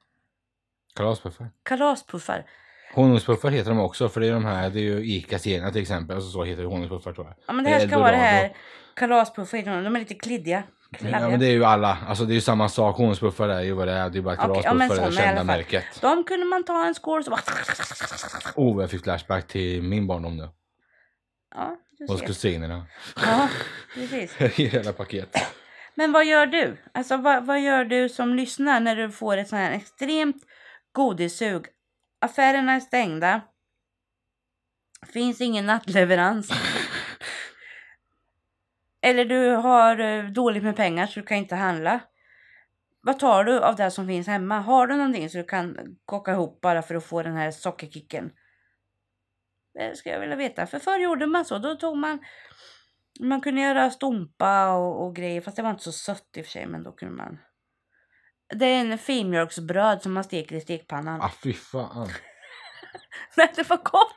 Speaker 1: Kalaspuffar.
Speaker 2: Kalaspuffar.
Speaker 1: Honungspuffar heter de också för det är de här, det är ju Icas egna till exempel. Alltså så heter det honungspuffar tror jag.
Speaker 2: Ja men det
Speaker 1: Det är
Speaker 2: här ska vara det
Speaker 1: Eldorado.
Speaker 2: här. Kalaspuffar heter de. De är lite kliddiga. Kladdiga.
Speaker 1: Ja men det är ju alla, alltså det är ju samma sak. Honungspuffar är ju vad det är. Det är bara
Speaker 2: Okej, ja, men
Speaker 1: kalaspuffar, det
Speaker 2: såna i
Speaker 1: är det kända
Speaker 2: alla fall.
Speaker 1: märket.
Speaker 2: De kunde man ta en skål så bara...
Speaker 1: Oh, jag fick flashback till min barndom nu.
Speaker 2: Ja, du
Speaker 1: Hos
Speaker 2: ser.
Speaker 1: kusinerna.
Speaker 2: Ja, precis.
Speaker 1: I hela paket.
Speaker 2: Men vad gör du? Alltså vad, vad gör du som lyssnar när du får ett sånt här extremt godissug? Affärerna är stängda. Finns ingen nattleverans. Eller du har eh, dåligt med pengar så du kan inte handla. Vad tar du av det som finns hemma? Har du någonting så du kan kocka ihop bara för att få den här sockerkicken? Det skulle jag vilja veta. För förr gjorde man så. Då tog man... Man kunde göra stompa och, och grejer. Fast det var inte så sött i och för sig. Men då kunde man... Det är en filmjölksbröd som man steker i stekpannan.
Speaker 1: Ah fy fan.
Speaker 2: Nej, det var gott!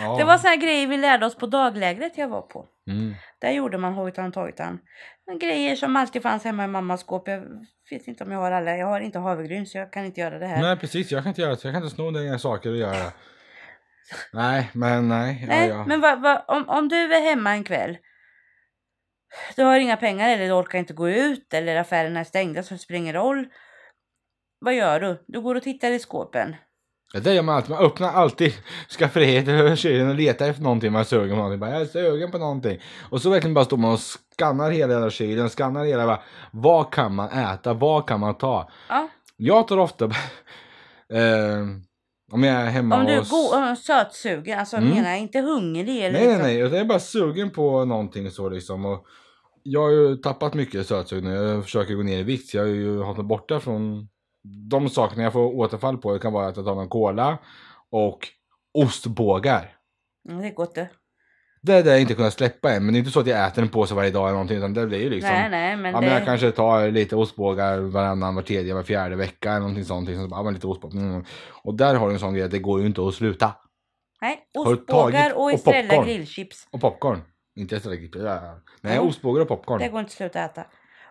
Speaker 1: Ja.
Speaker 2: Det var såna här grejer vi lärde oss på daglägret jag var på.
Speaker 1: Mm.
Speaker 2: Där gjorde man hojtan tojtan. Men Grejer som alltid fanns hemma i mammas skåp. Jag vet inte om jag har alla. Jag har inte havregryn så jag kan inte göra det här.
Speaker 1: Nej precis, jag kan inte göra det. Jag kan inte sno dina saker och göra det. Nej, men nej.
Speaker 2: Nej,
Speaker 1: ja, ja.
Speaker 2: men vad, vad, om, om du är hemma en kväll. Du har inga pengar eller du orkar inte gå ut eller affärerna är stängda så det spelar ingen roll. Vad gör du? Du går och tittar i skåpen.
Speaker 1: Ja, Det gör man alltid. Man öppnar alltid skafferiet över kylen och letar efter någonting. Man är sugen på någonting. Bara, jag är sugen på någonting. Och så verkligen bara står man och skannar hela jävla kylen. Skannar hela. Bara, vad kan man äta? Vad kan man ta?
Speaker 2: Ja.
Speaker 1: Jag tar ofta... eh, om jag är hemma
Speaker 2: Om du
Speaker 1: hos...
Speaker 2: är go- sötsugen, alltså
Speaker 1: Mm.
Speaker 2: menar jag inte hungrig eller
Speaker 1: Nej, nej,
Speaker 2: liksom-
Speaker 1: nej. utan Jag är bara sugen på någonting så liksom. Och jag har ju tappat mycket sötsug nu. Jag försöker gå ner i vikt. så Jag har ju hållit mig borta från de sakerna jag får återfall på. Det kan vara att jag tar en cola och ostbågar.
Speaker 2: Mm, Det är gott det.
Speaker 1: Det är det jag inte kunnat släppa än. Men det är inte så att jag äter en påse varje dag eller någonting. Utan det blir ju liksom.
Speaker 2: Nej, nej, men
Speaker 1: ja,
Speaker 2: det...
Speaker 1: men jag kanske tar lite ostbågar varannan, var tredje, var fjärde vecka eller någonting sånt. Liksom. Så bara, ja, men lite ostbågar. Mm. Och där har du en sån grej att det går ju inte att sluta.
Speaker 2: Nej,
Speaker 1: du
Speaker 2: ostbågar
Speaker 1: tagit-
Speaker 2: och
Speaker 1: och
Speaker 2: Estrella
Speaker 1: popcorn?
Speaker 2: grillchips.
Speaker 1: Och popcorn. Inte ens riktigt. ja. Nej,
Speaker 2: Mm.
Speaker 1: ostbågar och popcorn.
Speaker 2: Det går inte att sluta äta.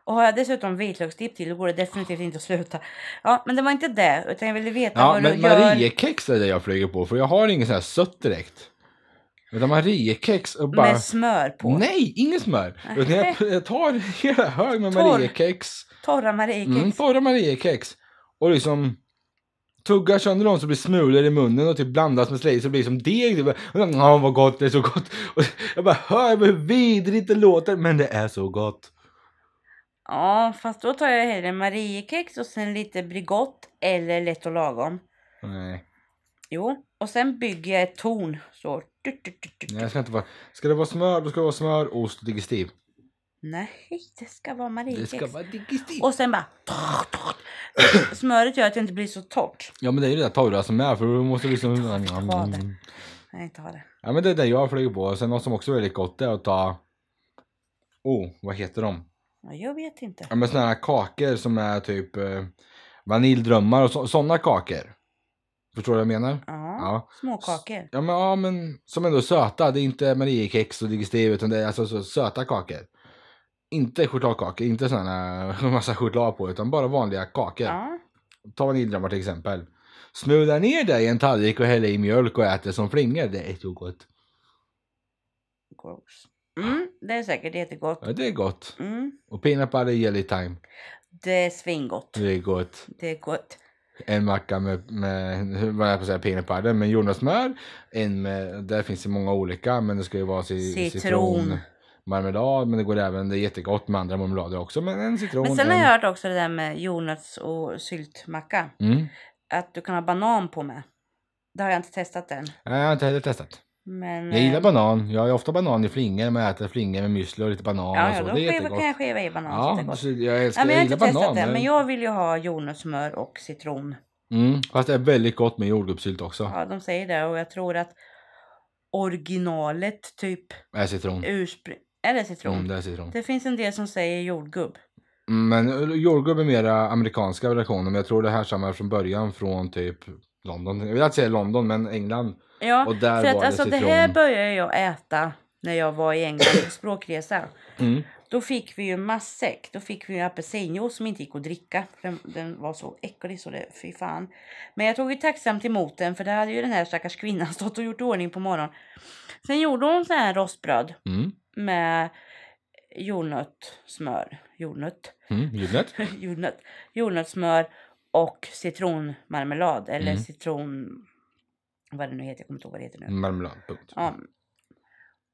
Speaker 2: Och har jag dessutom vitlöksdipp till då går det definitivt inte att sluta. Ja, men det var inte det. Utan jag ville veta
Speaker 1: Ja,
Speaker 2: vad
Speaker 1: men
Speaker 2: du gör.
Speaker 1: Mariekex är det jag flyger på för jag har ingen sån här sött direkt. Utan Mariekex och bara... Mm.
Speaker 2: Med smör på.
Speaker 1: Nej, ingen smör! Utan jag, jag tar en hela hög med
Speaker 2: Torr.
Speaker 1: Mariekex.
Speaker 2: Torra Mariekex.
Speaker 1: Mm, torra Mariekex. Och liksom tuggar sönder dem så blir smulor i munnen och typ blandas med slöja så blir det som deg. Typ. Och jag bara, Ja, vad gott, det är så gott. Och jag bara hör hur vidrigt det låter men det är så gott.
Speaker 2: Ja, fast då tar jag hellre Mariekex och sen lite Bregott eller Lätt och lagom.
Speaker 1: Nej,
Speaker 2: Jo, och sen bygger jag ett torn. Så. Du, du, du, du, du.
Speaker 1: jag ska inte vara... Ska det vara smör, då ska det vara smör, ost och digestiv.
Speaker 2: Nej, det ska vara
Speaker 1: Det
Speaker 2: Mariekex.
Speaker 1: ska vara digestiv.
Speaker 2: Och sen bara... Smöret gör att det inte blir så torrt.
Speaker 1: Ja men det är ju det där torra som är för du måste liksom...
Speaker 2: Ta det. Nej, inte ha det.
Speaker 1: Ja men det är det jag flyger på. Sen något som också är väldigt gott är att ta... Oh, vad heter de?
Speaker 2: Ja, jag vet inte.
Speaker 1: Ja men såna här kakor som är typ eh, vaniljdrömmar och så, såna kakor. Förstår du vad jag menar?
Speaker 2: Ja,
Speaker 1: Ja.
Speaker 2: småkakor.
Speaker 1: Ja men, ja men som ändå är söta. Det är inte Mariekex och digestiv utan det är alltså så söta kakor. Inte chokladkakor, inte sådana massa choklad på utan bara vanliga kakor.
Speaker 2: Ja.
Speaker 1: Ta vaniljdrömmar till exempel. Smula ner det i en tallrik och häll i mjölk och ät det som flingor. Det är så gott.
Speaker 2: Gross. Mm, det är säkert jättegott.
Speaker 1: Ja, det är gott.
Speaker 2: Mm,
Speaker 1: Och peanut butter jelly time.
Speaker 2: det är svingott.
Speaker 1: Det är gott.
Speaker 2: Det är gott.
Speaker 1: En macka med, med vad jag på att säga, peanut butter med jordnötssmör. En med, där finns det många olika men det ska ju vara ci-
Speaker 2: Citron.
Speaker 1: Marmelad, men det går även, det är jättegott med andra marmelader också men en citron.
Speaker 2: Men sen har
Speaker 1: en,
Speaker 2: jag hört också det där med jordnöts och syltmacka.
Speaker 1: Mm.
Speaker 2: Att du kan ha banan på med. Det har jag inte testat än.
Speaker 1: Nej, Jag har inte heller testat.
Speaker 2: Men,
Speaker 1: Jag gillar
Speaker 2: eh,
Speaker 1: banan. Jag har ju ofta banan i flingor men jag äter flingor med müsli och lite banan
Speaker 2: Ja,
Speaker 1: och
Speaker 2: ja,
Speaker 1: så.
Speaker 2: då
Speaker 1: alltså, Det är
Speaker 2: skiva,
Speaker 1: jättegott.
Speaker 2: kan jag skiva i banan så att det är
Speaker 1: Ja,
Speaker 2: gott.
Speaker 1: så jag älskar,
Speaker 2: Nej, men jag har
Speaker 1: jag gillar
Speaker 2: inte testat
Speaker 1: banan.
Speaker 2: det,
Speaker 1: men-
Speaker 2: men jag vill ju ha jordnötssmör och citron.
Speaker 1: Mm, fast det är väldigt gott med jordgubbssylt också.
Speaker 2: Ja, de säger det och jag tror att originalet, typ
Speaker 1: Är citron.
Speaker 2: urspr... Är det citron?
Speaker 1: Mm, det är citron.
Speaker 2: Det finns en del som säger jordgubb.
Speaker 1: Mm, Men jordgubb är mera amerikanska versioner men jag tror det här samma från början från typ London. Jag vill inte säga London men England.
Speaker 2: Ja,
Speaker 1: Och där
Speaker 2: för att
Speaker 1: var det
Speaker 2: alltså det
Speaker 1: citron.
Speaker 2: här började jag äta när jag var i England på språkresa.
Speaker 1: Mm.
Speaker 2: Då fick vi ju matsäck. Då fick vi ju apelsinjuice som inte gick att dricka. För den, den var så äcklig så det, fy fan. Men jag tog ju tacksamt emot den för det hade ju den här stackars kvinnan stått och gjort i ordning på morgonen. Sen gjorde hon så här rostbröd
Speaker 1: Mm.
Speaker 2: med jordnötssmör. Jordnöt?
Speaker 1: Mm. Jordnöt.
Speaker 2: jordnöt, jordnötssmör och citronmarmelad. Eller
Speaker 1: Mm.
Speaker 2: citron... Vad det nu heter, jag kommer inte ihåg vad det heter nu.
Speaker 1: Marmelad. Punkt.
Speaker 2: Ja.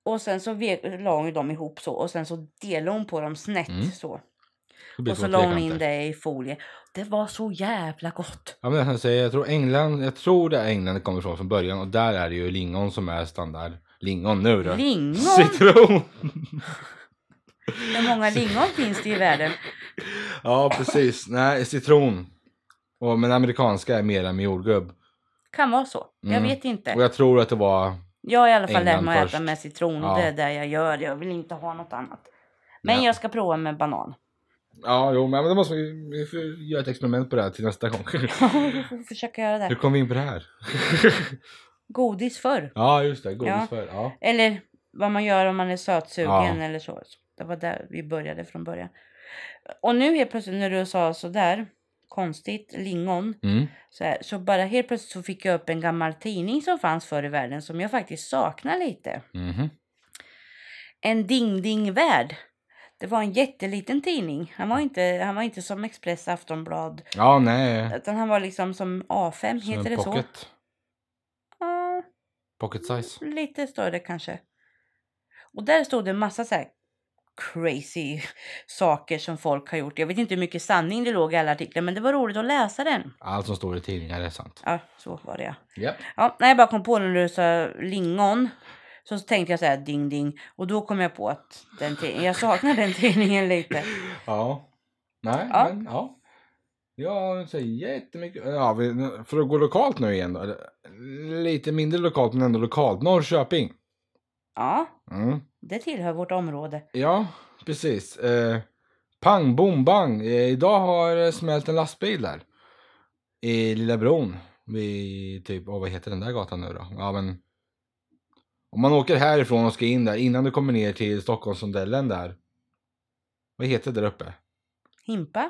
Speaker 2: Och sen så vek- la hon ju dem ihop så och sen så delade hon på dem snett
Speaker 1: Mm.
Speaker 2: så.
Speaker 1: Det blir
Speaker 2: Och så
Speaker 1: som
Speaker 2: la hon in
Speaker 1: trekanter.
Speaker 2: det i folie. Det var så jävla gott.
Speaker 1: Ja, men jag, kan säga, jag tror England, jag tror det är England det kommer ifrån från början och där är det ju lingon som är standard. Lingon nu då.
Speaker 2: Lingon!
Speaker 1: Citron!
Speaker 2: Hur många lingon finns det i världen?
Speaker 1: ja precis, nej citron. Och, men amerikanska är mera med jordgubb.
Speaker 2: Kan vara så. Jag
Speaker 1: Mm.
Speaker 2: vet inte.
Speaker 1: Och jag tror att det var
Speaker 2: Jag har i alla fall lärt
Speaker 1: England
Speaker 2: mig att äta
Speaker 1: först.
Speaker 2: med citron.
Speaker 1: Ja.
Speaker 2: Det är det jag gör. Jag vill inte ha något annat. Men
Speaker 1: Nej.
Speaker 2: jag ska prova med banan.
Speaker 1: Ja, jo, men då måste vi, vi får göra ett experiment på det här till nästa gång.
Speaker 2: Jag får försöka göra
Speaker 1: Hur
Speaker 2: det.
Speaker 1: kom vi in på det här?
Speaker 2: Godis förr.
Speaker 1: ja, just det. Godis
Speaker 2: Ja.
Speaker 1: för. Ja.
Speaker 2: Eller vad man gör om man är sötsugen
Speaker 1: Ja.
Speaker 2: eller så. Det var där vi började från början. Och nu helt plötsligt när du sa sådär konstigt, lingon.
Speaker 1: Mm.
Speaker 2: Så, här, så bara helt plötsligt så fick jag upp en gammal tidning som fanns förr i världen som jag faktiskt saknar lite.
Speaker 1: Mhm.
Speaker 2: En Ding Ding Värld. Det var en jätteliten tidning. Han var inte, han var inte som Express Aftonblad.
Speaker 1: Ja, nej.
Speaker 2: Utan han var liksom som A5,
Speaker 1: Som
Speaker 2: heter
Speaker 1: en
Speaker 2: det så?
Speaker 1: pocket.
Speaker 2: Ja,
Speaker 1: Pocket size.
Speaker 2: lite större kanske. Och där stod det en massa så här crazy saker som folk har gjort. Jag vet inte hur mycket sanning det låg i alla artiklar men det var roligt att läsa den.
Speaker 1: Allt som står i tidningar är sant.
Speaker 2: Ja, så var det ja.
Speaker 1: Japp.
Speaker 2: Ja, när jag bara kom på när du sa lingon. Så tänkte jag så här ding ding. Och då kom jag på att den tidningen, jag saknar den tidningen lite.
Speaker 1: Ja. Nej,
Speaker 2: Ja.
Speaker 1: men ja. Ja, så jättemycket. Ja, vi, för att gå lokalt nu igen då. eller, Lite mindre lokalt men ändå lokalt. Norrköping.
Speaker 2: Ja,
Speaker 1: Mm.
Speaker 2: det tillhör vårt område.
Speaker 1: Ja, precis. Eh, pang, bom, bang. Eh, idag har det smält en lastbil där. I Lilla Bron. Vid typ, åh, vad heter den där gatan nu då? Ja, men. Om man åker härifrån och ska in där innan du kommer ner till Stockholmsrondellen där. Vad heter det där uppe?
Speaker 2: Himpa?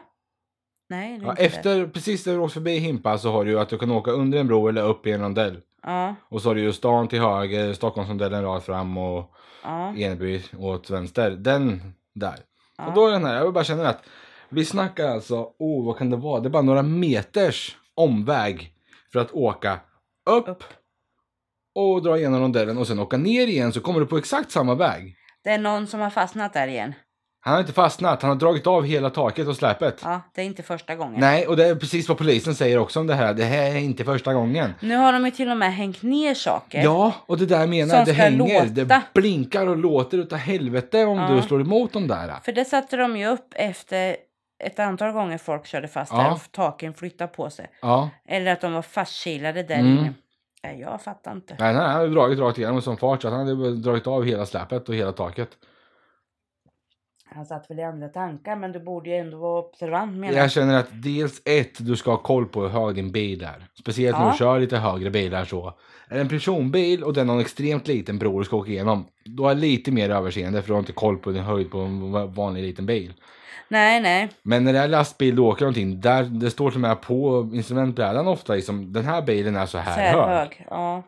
Speaker 2: Nej, det är
Speaker 1: Ja,
Speaker 2: inte det.
Speaker 1: efter, precis när du åker förbi Himpa så har du ju att du kan åka under en bro eller upp i en rondell.
Speaker 2: Ja,
Speaker 1: Och så har du ju stan till höger, Stockholmsrondellen rakt fram och
Speaker 2: ja,
Speaker 1: Eneby åt vänster. Den där. Och
Speaker 2: ja.
Speaker 1: då är den här, jag bara känner att vi snackar alltså, oh vad kan det vara? Det är bara några meters omväg för att åka upp,
Speaker 2: Upp.
Speaker 1: och dra igenom rondellen och sen åka ner igen så kommer du på exakt samma väg.
Speaker 2: Det är någon som har fastnat där igen.
Speaker 1: Han har inte fastnat, han har dragit av hela taket och släpet.
Speaker 2: Ja, det är inte första gången.
Speaker 1: Nej, och det är precis vad polisen säger också om det här. Det här är inte första gången.
Speaker 2: Nu har de ju till och med hängt ner saker.
Speaker 1: Ja, och det där jag
Speaker 2: Som
Speaker 1: menar, det
Speaker 2: ska
Speaker 1: hänger.
Speaker 2: låta.
Speaker 1: Det blinkar och låter utav helvete om
Speaker 2: Ja.
Speaker 1: du slår emot de där.
Speaker 2: För det satte de ju upp efter ett antal gånger folk körde fast
Speaker 1: Ja.
Speaker 2: där och taken flyttade på sig.
Speaker 1: Ja.
Speaker 2: Eller att de var fastkilade där
Speaker 1: Mm.
Speaker 2: inne. Nej, jag fattar inte.
Speaker 1: Nej, han hade dragit rakt igenom som fart så att han hade dragit av hela släpet och hela taket.
Speaker 2: Han satt väl i andra tankar men du borde ju ändå vara observant menar jag.
Speaker 1: Jag känner att dels ett, du ska ha koll på hur hög din bil är. Speciellt när
Speaker 2: Ja.
Speaker 1: du kör lite högre bilar så. Är det en personbil och den har en extremt liten bro du ska åka igenom. Då har jag lite mer överseende för du har inte koll på din höjd på en va- vanlig liten bil.
Speaker 2: Nej, nej.
Speaker 1: Men när det är lastbil du åker någonting, där det står till och med på instrumentbrädan ofta liksom, den här bilen är så här,
Speaker 2: Så
Speaker 1: hög.
Speaker 2: hög. Ja.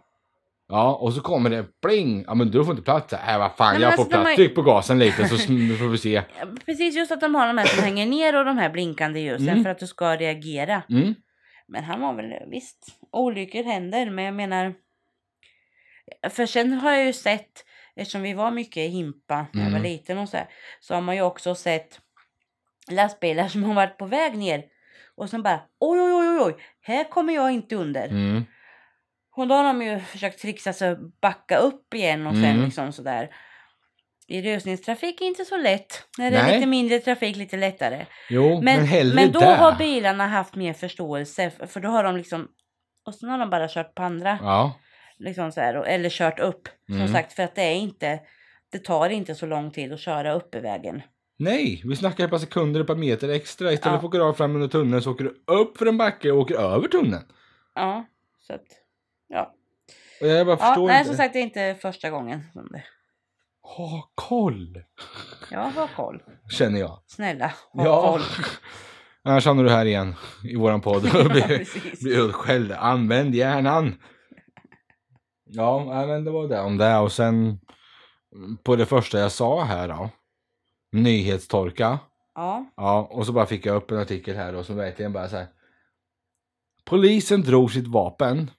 Speaker 1: Ja, och så kommer det pling! Ja men du får inte plats. Äh vad fan,
Speaker 2: Nej, men
Speaker 1: jag
Speaker 2: alltså,
Speaker 1: får
Speaker 2: de har
Speaker 1: plats.
Speaker 2: ju-
Speaker 1: Tryck på gasen lite så sm- får vi se.
Speaker 2: Precis just att de har de här som hänger ner och de här blinkande ljusen
Speaker 1: Mm.
Speaker 2: för att du ska reagera.
Speaker 1: Mm.
Speaker 2: Men han var väl visst, olyckor händer men jag menar. För sen har jag ju sett, eftersom vi var mycket i Himpa när jag var
Speaker 1: Mm.
Speaker 2: liten och så här, så har man ju också sett lastbilar som har varit på väg ner och sen bara oj oj oj oj, oj här kommer jag inte under.
Speaker 1: Mm.
Speaker 2: Och då har de ju försökt trixa sig att backa upp igen och sen
Speaker 1: Mm.
Speaker 2: liksom sådär. I rusningstrafik är inte så lätt. När det är
Speaker 1: Nej.
Speaker 2: lite mindre trafik lite lättare.
Speaker 1: Jo,
Speaker 2: Men,
Speaker 1: men,
Speaker 2: men,
Speaker 1: hellre
Speaker 2: då
Speaker 1: där.
Speaker 2: har bilarna haft mer förståelse f- för då har de liksom och sen har de bara kört på andra
Speaker 1: Ja.
Speaker 2: liksom så här, och- eller kört upp
Speaker 1: Mm.
Speaker 2: som sagt för att det är inte det tar inte så lång tid att köra upp i vägen.
Speaker 1: Nej, vi snackar ett par sekunder, ett par meter extra. Istället
Speaker 2: Ja.
Speaker 1: för att gå rakt fram under tunneln så åker du upp för en backe och åker över tunneln.
Speaker 2: Ja, så att ja.
Speaker 1: Och jag bara
Speaker 2: ja
Speaker 1: förstår
Speaker 2: nej,
Speaker 1: inte.
Speaker 2: som sagt det är inte första gången som det.
Speaker 1: Ha koll!
Speaker 2: Ja, ha koll.
Speaker 1: Känner jag.
Speaker 2: Snälla, ha
Speaker 1: ja.
Speaker 2: koll.
Speaker 1: Annars hamnar du här igen i våran podd och
Speaker 2: Ja,
Speaker 1: blir,
Speaker 2: precis.
Speaker 1: blir utskälld. Använd hjärnan! Ja, nej, men det var det om det. Och sen på det första jag sa här då. Nyhetstorka.
Speaker 2: Ja.
Speaker 1: Ja, och så bara fick jag upp en artikel här då som verkligen bara så här. Polisen drog sitt vapen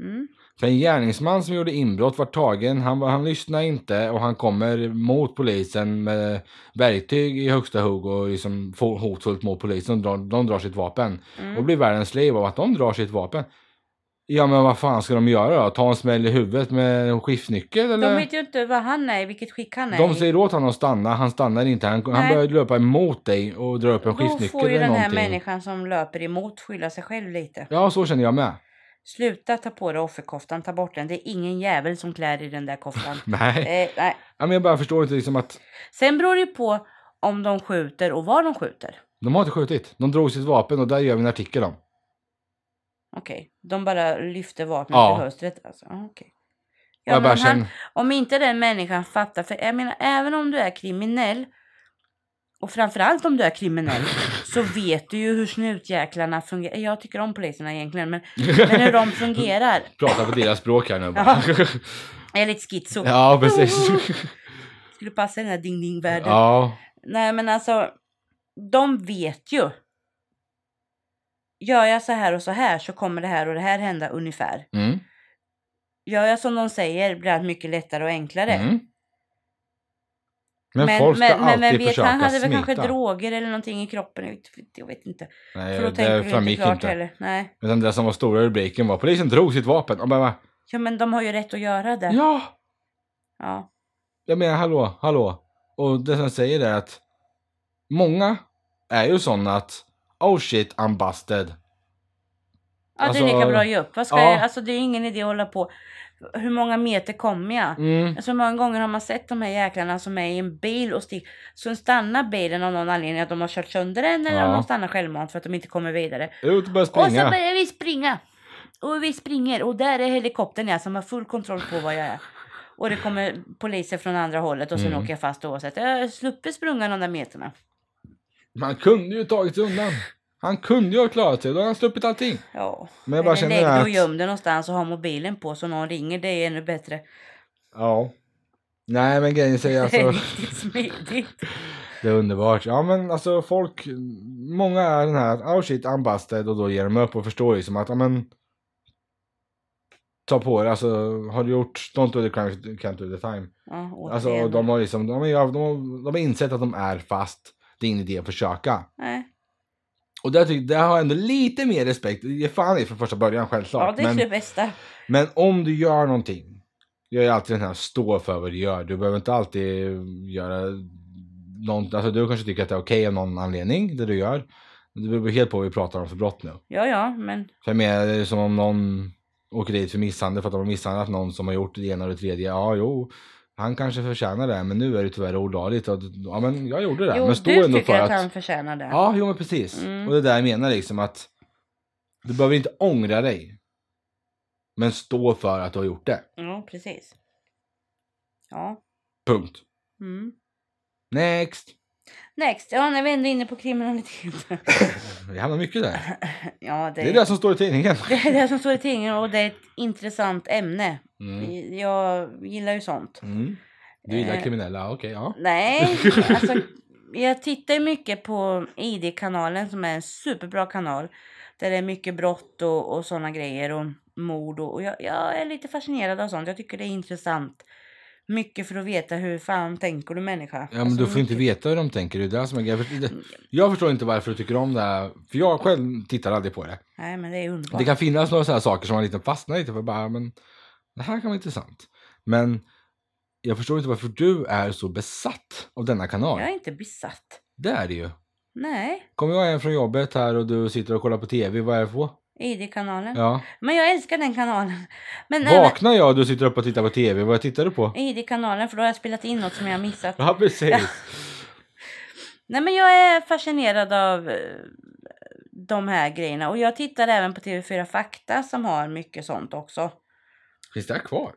Speaker 2: Mm.
Speaker 1: För en gärningsman som gjorde inbrott var tagen, han, var- han lyssnade inte och han kommer mot polisen med verktyg i högsta hugg och liksom får hotfullt mot polisen och drar, de drar sitt vapen.
Speaker 2: Mm.
Speaker 1: Och blir världens liv av att de drar sitt vapen. Ja men vad fan ska de göra då? Ta en smäll i huvudet med en skiftnyckel eller?
Speaker 2: De vet ju inte vad han är i, vilket skick han är
Speaker 1: De
Speaker 2: i.
Speaker 1: säger åt honom att stanna, han stannar inte. Han, han
Speaker 2: Nej.
Speaker 1: börjar löpa emot dig och dra upp en
Speaker 2: Då
Speaker 1: skiftnyckel
Speaker 2: får ju
Speaker 1: eller
Speaker 2: den här
Speaker 1: någonting.
Speaker 2: människan som löper emot skylla sig själv lite.
Speaker 1: Ja, så känner jag med.
Speaker 2: Sluta ta på dig offerkoftan, ta bort den. Det är ingen jävel som klär i den där koftan.
Speaker 1: Nej,
Speaker 2: eh, nej.
Speaker 1: Ja, men jag bara förstår inte liksom att
Speaker 2: Sen beror det ju på om de skjuter och var de skjuter.
Speaker 1: de har inte skjutit. De drog sitt vapen och där gör vi en artikel om.
Speaker 2: Okej, de bara lyfter vapnet
Speaker 1: Ja.
Speaker 2: ur höstret. Alltså. Ja, okej. Ja, men
Speaker 1: Jag bara
Speaker 2: om, han,
Speaker 1: känner...
Speaker 2: om inte den människan fattar, för jag menar även om du är kriminell och framförallt om du är kriminell så vet du ju hur snutjäklarna fungerar. Jag tycker om poliserna egentligen men, men hur de fungerar.
Speaker 1: Prata på deras språk här nu bara.
Speaker 2: Jag är lite schizo.
Speaker 1: ja, precis.
Speaker 2: Skulle passa i den här ding ding världen.
Speaker 1: ja.
Speaker 2: Nej men alltså. De vet ju. Gör jag så här och så här så kommer det här och det här hända ungefär.
Speaker 1: Mm.
Speaker 2: Gör jag som de säger blir allt mycket lättare och enklare.
Speaker 1: Mm. Men, folk ska alltid försöka
Speaker 2: Han hade väl
Speaker 1: smita.
Speaker 2: kanske droger eller någonting i kroppen. Jag vet, jag vet inte.
Speaker 1: Nej,
Speaker 2: För då tänker
Speaker 1: det
Speaker 2: du inte
Speaker 1: framgick
Speaker 2: klart
Speaker 1: inte.
Speaker 2: heller. Nej.
Speaker 1: Utan det som var stora rubriken var polisen drog sitt vapen. Och bara, va?
Speaker 2: Ja men de har ju rätt att göra det.
Speaker 1: ja,
Speaker 2: Ja.
Speaker 1: jag menar hallå, hallå. Och det som säger är att många är ju sådana att oh shit, I'm busted.
Speaker 2: Ja,
Speaker 1: Alltså,
Speaker 2: det är lika bra att ge upp. Vad ska
Speaker 1: ja.
Speaker 2: jag, alltså, det är ingen idé att hålla på. Hur många meter kommer jag?
Speaker 1: Mm.
Speaker 2: Så Alltså, många gånger har man sett de här jäklarna som är i en bil och stick. Så stannar bilen av någon anledning att de har kört sönder den eller
Speaker 1: Ja.
Speaker 2: om de stannar självmant för att de inte kommer vidare.
Speaker 1: Ut och börja
Speaker 2: Och så
Speaker 1: springa.
Speaker 2: börjar vi springa. Och vi springer och där är helikoptern jag som har full kontroll på vad jag är. Och det kommer poliser från andra hållet och sen
Speaker 1: Mm.
Speaker 2: åker jag fast oavsett. Jag har sluppit eh, sprunga de där meterna.
Speaker 1: Man kunde ju tagit sig undan. Han kunde ju ha klarat sig, då hade han sluppit allting.
Speaker 2: Ja.
Speaker 1: Men jag bara
Speaker 2: eller
Speaker 1: känner
Speaker 2: lägg dig och
Speaker 1: att-
Speaker 2: göm dig någonstans och ha mobilen på så någon ringer. Det är ännu bättre.
Speaker 1: Ja. Nej men grejen säger
Speaker 2: Det är
Speaker 1: alltså,
Speaker 2: riktigt smidigt.
Speaker 1: det är underbart. Ja men alltså folk, många är den här, oh shit, I'm busted och då ger de upp och förstår ju som att, ja men ta på det, alltså har du gjort, don't do the crime, if you can't do the time.
Speaker 2: Ja,
Speaker 1: Alltså
Speaker 2: återigen.
Speaker 1: de har liksom, de har, de har, de har insett att de är fast, det är ingen idé att försöka.
Speaker 2: Nej.
Speaker 1: Och där, tycker, där har jag ändå lite mer respekt, ge fan i från första början
Speaker 2: Ja,
Speaker 1: självklart.
Speaker 2: det är
Speaker 1: men,
Speaker 2: det bästa.
Speaker 1: Men om du gör någonting. Jag är alltid den här stå för vad du gör. Du behöver inte alltid göra någon, alltså du kanske tycker att det är okej av någon anledning, det du gör. Det beror helt på vad vi pratar om för brott nu.
Speaker 2: Ja, ja, men
Speaker 1: För jag menar, det är som om någon åker dit för misshandel för att de har misshandlat någon som har gjort det ena och det tredje. Ja, jo, han kanske förtjänar det, men nu är det tyvärr olagligt. Och, ja, men jag gjorde det.
Speaker 2: jo,
Speaker 1: men
Speaker 2: du tycker att han förtjänar det.
Speaker 1: Ja, jo men precis.
Speaker 2: Mm.
Speaker 1: Och det där jag menar liksom att du behöver inte ångra dig. Men stå för att du har gjort det.
Speaker 2: Ja, precis. Ja.
Speaker 1: Punkt.
Speaker 2: Mm.
Speaker 1: Next.
Speaker 2: Next. Ja, när vi ändå är inne på kriminaliteten.
Speaker 1: Det hamnar mycket där.
Speaker 2: ja, det,
Speaker 1: Det är det som står i tidningen.
Speaker 2: det är det som står i tidningen och det är ett intressant ämne.
Speaker 1: Mm.
Speaker 2: Jag gillar ju sånt.
Speaker 1: Mm. Du gillar
Speaker 2: Eh.
Speaker 1: kriminella, okej ja.
Speaker 2: Nej, alltså jag tittar ju mycket på ID-kanalen som är en superbra kanal. Där det är mycket brott och, och sådana grejer och mord och, och jag, jag är lite fascinerad av sånt. Jag tycker det är intressant. Mycket för att veta hur fan tänker du människa?
Speaker 1: Ja men
Speaker 2: Alltså, Mm.
Speaker 1: du får inte veta hur de tänker. Det är det som är grejen. Jag förstår- Jag förstår inte varför du tycker om det här. För jag själv tittar aldrig på det.
Speaker 2: Nej men det är underbart.
Speaker 1: Det kan finnas några så här saker som man lite fastnar lite för. Bara, men det här kan vara intressant. Men jag förstår inte varför du är så besatt av denna kanal.
Speaker 2: Jag är inte besatt.
Speaker 1: Det är det ju.
Speaker 2: Nej,
Speaker 1: Kommer jag hem från jobbet här och du sitter och kollar på TV, vad är det
Speaker 2: Mm.
Speaker 1: på?
Speaker 2: ID-kanalen.
Speaker 1: Ja.
Speaker 2: Men jag älskar den kanalen. Men även
Speaker 1: Vaknar jag och du sitter uppe och tittar på TV, vad tittar du på?
Speaker 2: ID-kanalen för då har jag spelat in något som jag har missat.
Speaker 1: Ja, precis.
Speaker 2: Nej men jag är fascinerad av eh, de här grejerna. Och jag tittar även på TV4 Fakta som har mycket sånt också.
Speaker 1: Finns det här kvar?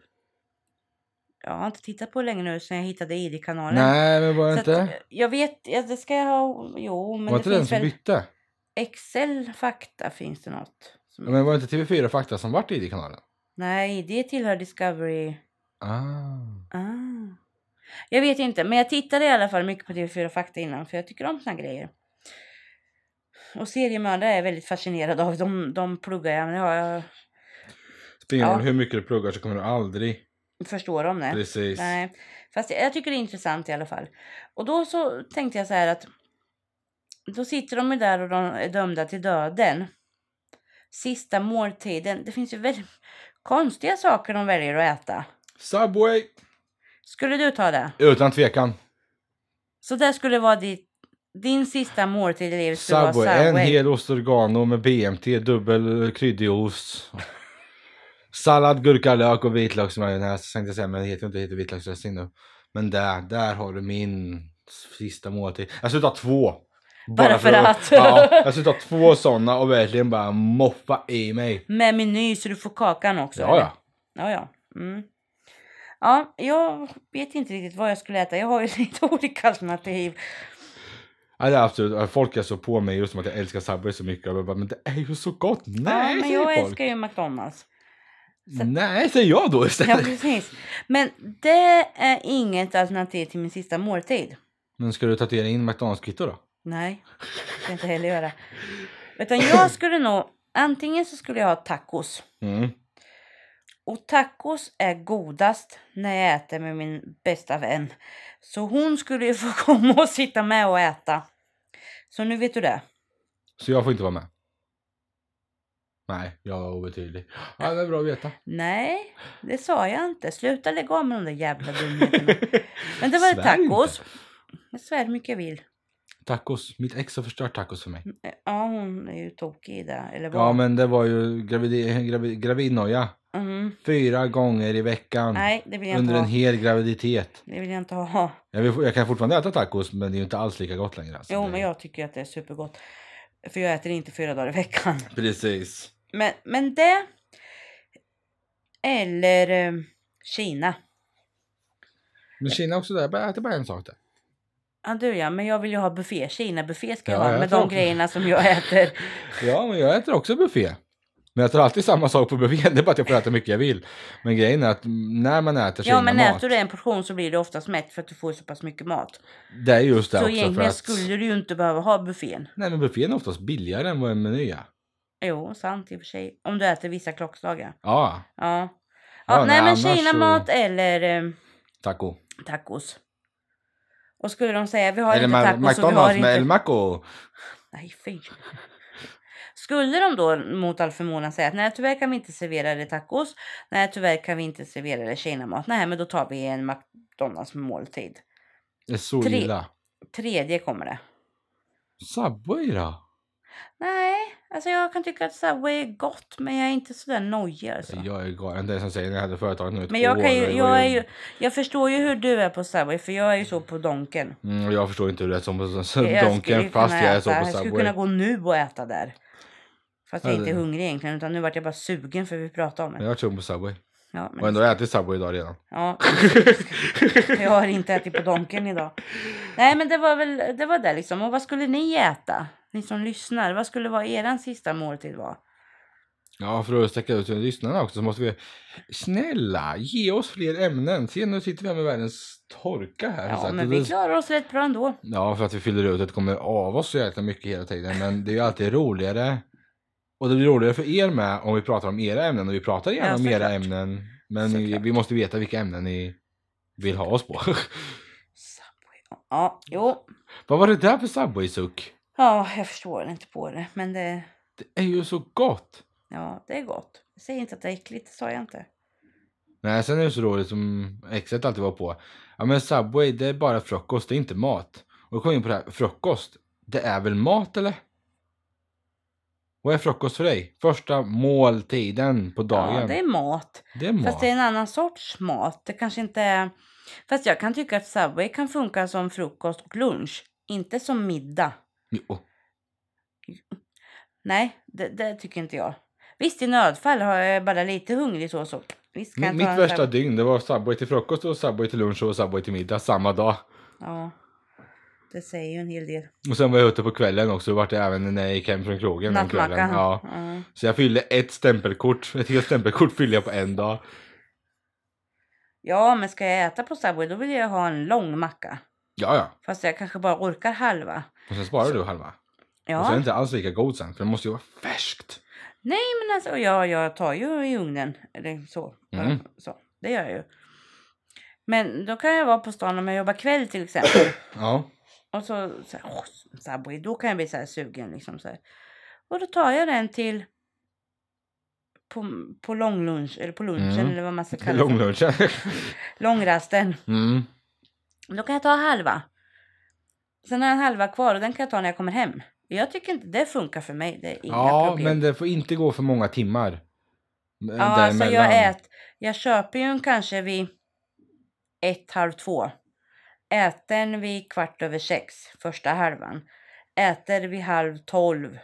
Speaker 2: Jag har inte tittat på länge nu sen jag hittade ID-kanalen.
Speaker 1: Nej, men var det
Speaker 2: Så
Speaker 1: inte?
Speaker 2: att, eh, jag vet, ja, det ska jag ha, jo men
Speaker 1: var
Speaker 2: det
Speaker 1: inte den
Speaker 2: finns
Speaker 1: som
Speaker 2: väl
Speaker 1: bytte?
Speaker 2: Excel Fakta finns det något. Som,
Speaker 1: Men var det inte TV4 Fakta som vart i kanalen?
Speaker 2: Nej, det tillhör Discovery.
Speaker 1: Ah.
Speaker 2: Ah. Jag vet inte, men jag tittade i alla fall mycket på TV4 Fakta innan för jag tycker om såna grejer. Och seriemördare är jag väldigt fascinerad av. De, de pluggar jag, men det har jag
Speaker 1: Spelar ingen roll
Speaker 2: Ja.
Speaker 1: hur mycket du pluggar så kommer du aldrig...
Speaker 2: förstår om det.
Speaker 1: Precis.
Speaker 2: Nej, fast jag, jag tycker det är intressant i alla fall. Och då så tänkte jag så här att då sitter de ju där och de är dömda till döden. Sista måltiden. Det finns ju väldigt konstiga saker de väljer att äta.
Speaker 1: Subway!
Speaker 2: Skulle du ta det?
Speaker 1: Utan tvekan.
Speaker 2: Så det skulle vara ditt, din sista måltid i livet skulle
Speaker 1: Subway.
Speaker 2: vara
Speaker 1: En
Speaker 2: Subway.
Speaker 1: hel ost oregano med BMT, dubbel eh, kryddig ost. Sallad, gurka, lök och vitlöksmajonnäs. tänkte jag säga, men det heter ju inte det heter vitlöksdressing nu. Men där, där har du min sista måltid. Jag skulle ta två.
Speaker 2: Bara för att.
Speaker 1: Ja, jag skulle ta två sådana och verkligen bara moffa i mig.
Speaker 2: Med meny så du får kakan också.
Speaker 1: Ja,
Speaker 2: eller?
Speaker 1: ja.
Speaker 2: ja, ja. Mm. Ja, jag vet inte riktigt vad jag skulle äta. Jag har ju lite olika alternativ.
Speaker 1: ja det är absolut. Folk är så på mig just som att jag älskar Subway så mycket. Jag bara, men det är ju så gott. Nej,
Speaker 2: ja, men
Speaker 1: säger
Speaker 2: jag
Speaker 1: folk.
Speaker 2: älskar ju McDonalds. så-
Speaker 1: Nej, säger jag då
Speaker 2: Ja,
Speaker 1: istället.
Speaker 2: precis. Men det är inget alternativ till min sista måltid.
Speaker 1: Men ska du tatuera in McDonalds-kvitto då?
Speaker 2: Nej, det ska jag inte heller göra. Utan jag skulle nog... Antingen så skulle jag ha tacos.
Speaker 1: Mm.
Speaker 2: Och tacos är godast när jag äter med min bästa vän. Så hon skulle ju få komma och sitta med och äta. Så nu vet du det.
Speaker 1: Så jag får inte vara med? Nej, jag var obetydlig. Ja, det är bra att veta.
Speaker 2: Nej, det sa jag inte. Sluta lägga av med de där jävla dumheterna. Men det var
Speaker 1: Svär inte.
Speaker 2: tacos. Jag svär hur mycket jag vill.
Speaker 1: Tacos. Mitt ex har förstört tacos för mig.
Speaker 2: Eh, Ja, hon är ju tokig i det. Eller Mm, vad?
Speaker 1: Ja, men det var ju gravid, gravid, gravidnoja.
Speaker 2: Mm.
Speaker 1: Fyra gånger i veckan.
Speaker 2: Nej, det vill jag inte
Speaker 1: under en
Speaker 2: ha.
Speaker 1: hel graviditet.
Speaker 2: Det vill jag inte ha.
Speaker 1: Jag, vill, jag kan fortfarande äta tacos, men det är ju inte alls lika gott längre. Alltså.
Speaker 2: Jo,
Speaker 1: Det-
Speaker 2: men jag tycker att det är supergott. För jag äter inte fyra dagar i veckan.
Speaker 1: Precis.
Speaker 2: Men, men det... Eller eh, Kina.
Speaker 1: Men Kina också där. Jag äter bara en sak där.
Speaker 2: Ja, du ja, men jag vill ju ha buffé. Kina-buffé ska jag
Speaker 1: Ja,
Speaker 2: ha
Speaker 1: jag
Speaker 2: med
Speaker 1: tror Alltså,
Speaker 2: de
Speaker 1: också.
Speaker 2: grejerna som jag äter.
Speaker 1: Ja, men jag äter också buffé. Men jag tar alltid samma sak på buffén. Det är bara att jag får äta hur mycket jag vill. Men grejen är att när man äter
Speaker 2: ja, men
Speaker 1: Kina-mat,
Speaker 2: äter du en portion så blir du oftast mätt för att du får så pass mycket mat.
Speaker 1: Det är just det
Speaker 2: så
Speaker 1: också. för
Speaker 2: egentligen
Speaker 1: att...
Speaker 2: skulle du ju inte behöva ha buffén.
Speaker 1: Nej men buffén är oftast billigare än vad en meny är.
Speaker 2: Jo, sant i och för sig. Om du äter vissa klockslagar.
Speaker 1: Ja,
Speaker 2: Ja. Ja,
Speaker 1: Ja,
Speaker 2: nej,
Speaker 1: nej,
Speaker 2: men
Speaker 1: annars så-
Speaker 2: Kina-mat eller eh,
Speaker 1: taco.
Speaker 2: tacos. Och skulle de säga vi har
Speaker 1: Eller
Speaker 2: inte
Speaker 1: Ma-
Speaker 2: tacos och vi har
Speaker 1: McDonalds med El
Speaker 2: inte...
Speaker 1: Maco.
Speaker 2: Nej, fy. Skulle de då mot all förmodan säga att nej tyvärr kan vi inte servera det tacos. Nej tyvärr kan vi inte servera det Kina-mat. Nej men då tar vi en McDonalds måltid.
Speaker 1: Det är så
Speaker 2: Tre.
Speaker 1: illa.
Speaker 2: Tredje kommer det.
Speaker 1: Subway då?
Speaker 2: Nej, alltså jag kan tycka att Subway är gott men jag är inte sådär nojig alltså.
Speaker 1: Jag är galen. Det är som säger när jag hade företaget nu ett
Speaker 2: Men jag
Speaker 1: år,
Speaker 2: kan ju,
Speaker 1: det var
Speaker 2: jag är ju, jag förstår ju hur du är på Subway för jag är ju så på Donken.
Speaker 1: Mm, och jag förstår inte hur det är som på
Speaker 2: Jag skulle
Speaker 1: Donken
Speaker 2: kunna
Speaker 1: fast jag är så
Speaker 2: äta-
Speaker 1: på
Speaker 2: Jag skulle
Speaker 1: Subway.
Speaker 2: kunna gå nu och äta där. Fast jag är
Speaker 1: Ja,
Speaker 2: inte
Speaker 1: det-
Speaker 2: hungrig egentligen utan nu vart jag bara sugen för vi pratade om
Speaker 1: Men
Speaker 2: det.
Speaker 1: jag har sugen på Subway.
Speaker 2: Ja, men,
Speaker 1: Och ändå har jag ätit Subway idag redan.
Speaker 2: ja. Jag har inte ätit på Donken idag. Nej men det var väl det var det liksom. Och vad skulle ni äta? Ni som lyssnar. Vad skulle vara eran sista måltid vara?
Speaker 1: ja, för att sträcka ut till lyssnarna också så måste vi... Snälla, ge oss fler ämnen. Se, nu sitter vi här med världens torka här. som
Speaker 2: Ja
Speaker 1: sagt.
Speaker 2: men
Speaker 1: Det-
Speaker 2: vi klarar oss rätt bra ändå.
Speaker 1: Ja, för att vi fyller ut ett kommer av oss så jäkla mycket hela tiden. Men det är ju alltid roligare. Och det blir roligare för er med om vi pratar om era ämnen. Och vi pratar gärna
Speaker 2: Ja,
Speaker 1: om era
Speaker 2: såklart.
Speaker 1: ämnen. Men
Speaker 2: Såklart.
Speaker 1: vi, vi måste veta vilka ämnen ni vill ha oss på.
Speaker 2: Subway. Ja, jo.
Speaker 1: Vad var det där för Subway-suck?
Speaker 2: Ja, jag förstår inte på det. Men det,
Speaker 1: Det är ju så gott!
Speaker 2: ja, det är gott. Jag säger inte att det är äckligt, det sa jag inte.
Speaker 1: Nej, sen är det så roligt som exet alltid var på. Ja, men Subway, det är bara frukost, det är inte mat. Och då kom jag in på det här, frukost, det är väl mat eller? Vad är frukost för dig? Första måltiden på dagen.
Speaker 2: Ja, det är mat.
Speaker 1: Det är mat.
Speaker 2: Fast det är en annan sorts mat. Det kanske inte är... Fast jag kan tycka att Subway kan funka som frukost och lunch. Inte som middag.
Speaker 1: Jo.
Speaker 2: Nej, det, det tycker inte jag. Visst, i nödfall har jag bara lite hungrig så så. Visst kan
Speaker 1: Mitt,
Speaker 2: jag ta en
Speaker 1: värsta
Speaker 2: Subway.
Speaker 1: dygn det var Subway till frukost och Subway till lunch och Subway till middag samma dag.
Speaker 2: Ja, det säger ju en hel del.
Speaker 1: Och sen var jag ute på kvällen också, vart det även när jag gick hem från krogen den
Speaker 2: Nattmackan.
Speaker 1: kvällen. Ja.
Speaker 2: Ja.
Speaker 1: Så jag fyllde ett stämpelkort, ett helt stämpelkort fyllde jag på en dag.
Speaker 2: ja, men ska jag äta på Subway då vill jag ha en lång macka.
Speaker 1: Ja, ja.
Speaker 2: Fast jag kanske bara orkar halva.
Speaker 1: Och sen sparar du halva. Och
Speaker 2: Ja,
Speaker 1: sen är det inte alls lika god sen, för det måste ju vara färskt.
Speaker 2: men alltså ja, jag tar ju i ugnen. Eller så.
Speaker 1: Mm.
Speaker 2: så. Det gör jag ju. Men då kan jag vara på stan om jag jobbar kväll till exempel.
Speaker 1: Ja.
Speaker 2: Och så, så här, åh, Subway, då kan jag bli så här sugen liksom så här. Och då tar jag den till på, på långlunch, eller på lunchen
Speaker 1: Mm.
Speaker 2: eller vad man ska kalla det. för.
Speaker 1: Långlunchen.
Speaker 2: Långrasten.
Speaker 1: Mm.
Speaker 2: Då kan jag ta halva. Sen har jag en halva kvar och den kan jag ta när jag kommer hem. Jag tycker inte det funkar för mig. Det är inga
Speaker 1: Ja,
Speaker 2: problem.
Speaker 1: men det får inte gå för många timmar.
Speaker 2: Ja, alltså jag, ät, jag köper ju en kanske vid ett, halv två. Äter vid kvart över sex, första halvan. Äter vid halv tolv.